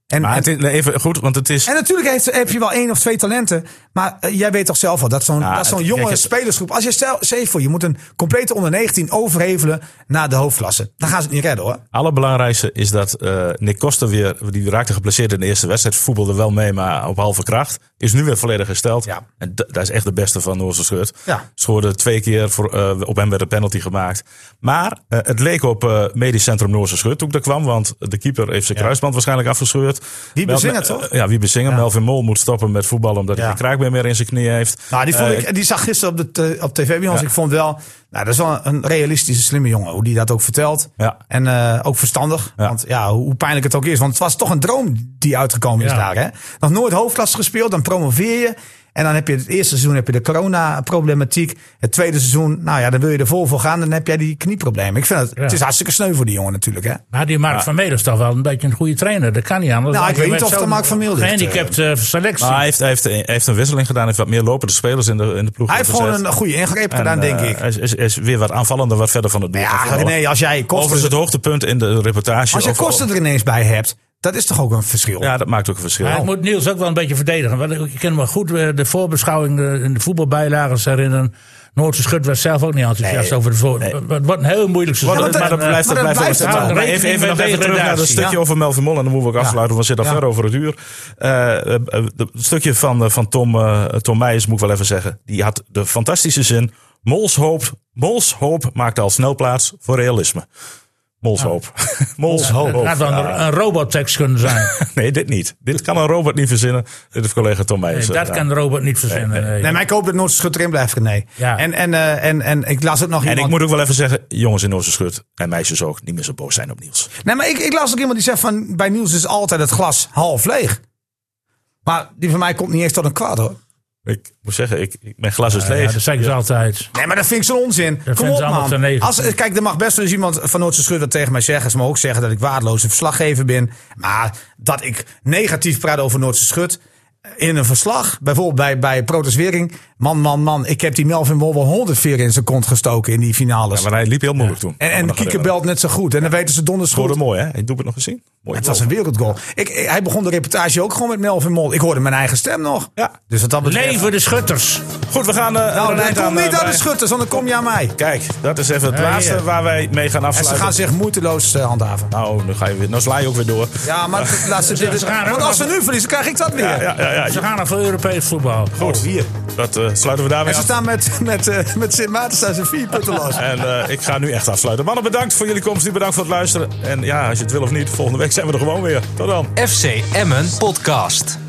En, Maar en, het is, nee, even goed, want het is. en natuurlijk heeft, heb je wel één of twee talenten. Maar eh, jij weet toch zelf al dat zo'n Ja, dat zo'n het- jonge kijk, het- spelersgroep... Als je stel, zeg voor, je moet een complete onder 19 overhevelen naar de hoofdklasse. Dan gaan ze het niet redden hoor. Allerbelangrijkste is dat eh Nick Koster weer, die raakte geblesseerd in de eerste wedstrijd, voetbalde wel mee, maar op halve kracht. Is nu weer volledig hersteld. Ja. En d- dat is echt de beste van Noorse Schut. Ja. Schoorde twee keer, voor, eh, op hem werd een penalty gemaakt. Maar eh, het leek op eh, medisch centrum Noorse Schut toen ik daar kwam, want de keeper heeft zijn kruisband waarschijnlijk afgescheurd. Wie Wel- bezingen, eh, toch? ja, wie bezingen. Melvin Mol moet stoppen met voetballen omdat hij Ja. geen kraakbeen meer in zijn knie heeft. Nou, die, vond Eh, ik, die zag gisteren op, de, t- op tv bij ons. Ik vond wel, nou, dat is wel een realistische, slimme jongen. Hoe die dat ook vertelt. Ja. En eh, ook verstandig. Ja. Want ja, hoe hoe pijnlijk het ook is. Want het was toch een droom die uitgekomen is Ja. daar. Hè? Nog nooit hoofdklasse gespeeld. Dan promoveer je. En dan heb je het eerste seizoen heb je de corona-problematiek. Het tweede seizoen, nou ja, dan wil je er vol voor gaan. Dan heb jij die knieproblemen. Ik vind het, Ja. het is hartstikke sneu voor die jongen natuurlijk. Hè? Maar die Mark van Meel is toch wel een beetje een goede trainer. Dat kan niet anders. Nou, Want ik weet niet je met of de zo'n Mark van Meel dit, eh, Gehandicapt eh, selectie. Maar hij heeft, hij, heeft, hij heeft een wisseling gedaan. Hij heeft wat meer lopende spelers in de, in de ploeg Hij heeft gewoon gezet. een goede ingreep gedaan, En, denk eh, ik. Hij is, is, is weer wat aanvallender, wat verder van het doel. Ja, gevallen. nee, als jij Overigens kosten, het hoogtepunt in de reportage. als je over- kosten er ineens bij hebt, dat is toch ook een verschil. Ja, dat maakt ook een verschil. Maar ik moet Niels ook wel een beetje verdedigen. Want ik, ik ken me goed eh, de voorbeschouwing eh, in de voetbalbijlagers herinneren. Noordse Schut was zelf ook niet enthousiast over de voor. Het wordt een heel moeilijk seizoen. want dat- maar dat En, eh, blijft, maar dat dat blijft, blijft wel het hetzelfde. wel. Maar even, even, Rekening nog met even de terug naar dat gradatie. stukje Ja. over Melvin Mol. En dan moeten we ook afsluiten, want we zitten al Ja. ver over het uur. Eh, eh, eh, Het stukje van, eh, van Tom, eh, Tom Meijers moet ik wel even zeggen. Die had de fantastische zin. Mols hoop, Mols hoop maakt al snel plaats voor realisme. Mols hoop. Mols hoop. Het had wel oh, Ja. een, een robottekst kunnen zijn. Nee, dit niet. Dit kan een robot niet verzinnen. Dit heeft collega Tom Nee, Meijers. dat eh, kan de robot niet verzinnen. nee. Nee, maar ik hoop dat Noordse Schut erin blijft, René. Ja. En, en, eh, en, en ik las ook nog En iemand... ik moet ook wel even zeggen, jongens in onze schut en meisjes ook, niet meer zo boos zijn op Niels. Nee, maar ik, ik las ook iemand die zegt van... bij Niels is altijd het glas half leeg. Maar die van mij komt niet eens tot een kwaad, hoor. Ik moet zeggen, ik, ik, mijn glas is Ja, leeg. dat zeggen ze altijd. Nee, maar dat vind ik zo'n onzin. Kom vinden op, ze allemaal te man. negatief. Als, eh, kijk, er mag best wel eens iemand van Noordse Schut dat tegen mij zeggen. Ze mogen ook zeggen dat ik waardeloze verslaggever ben. Maar dat eh, ik negatief praat over Noordse Schut... in een verslag, bijvoorbeeld bij, bij Protestwering... Man, man, man. Ik heb die Melvin Mol wel honderd veer in zijn kont gestoken in die finales. Ja, maar hij liep heel moeilijk toen. en Kan me en nog Kieke herinneren. belt net zo goed. En dan weten ze donders goed. Scoorde mooi, hè? Ik doe het nog eens zien. Mooi Het goal. was een wereldgoal. Ik, ik- hij begon de reportage ook gewoon met Melvin Mol. Ik hoorde mijn eigen stem nog. Ja. Dus wat dat betreft... Leven de schutters. Goed, we gaan... eh, er Nou, een dan eind kom aan, eh, niet aan de bij- schutters, want dan kom je aan mij. Kijk, dat is even het laatste ja. waar wij mee eh, gaan En ze afsluiten. gaan zich moeiteloos eh, handhaven. Nou, nu, ga je weer, nou sla je ook weer door. Ja, maar het laatste dit is- ze gaan er Want ook als ze nu verliezen, krijg ik dat weer. Ja, ja, ja. ja. Ze gaan naar veel Europees voetbal. Goed, Oh, hier. Dat eh, sluiten we daarmee En af. ze staan met, met, eh, met Sint Maarten staan ze vier punten los. En eh, ik ga nu echt afsluiten. Mannen, bedankt voor jullie komst. Bedankt voor het luisteren. En ja, als je het wil of niet, volgende week zijn we er gewoon weer. Tot dan. FC Emmen Podcast.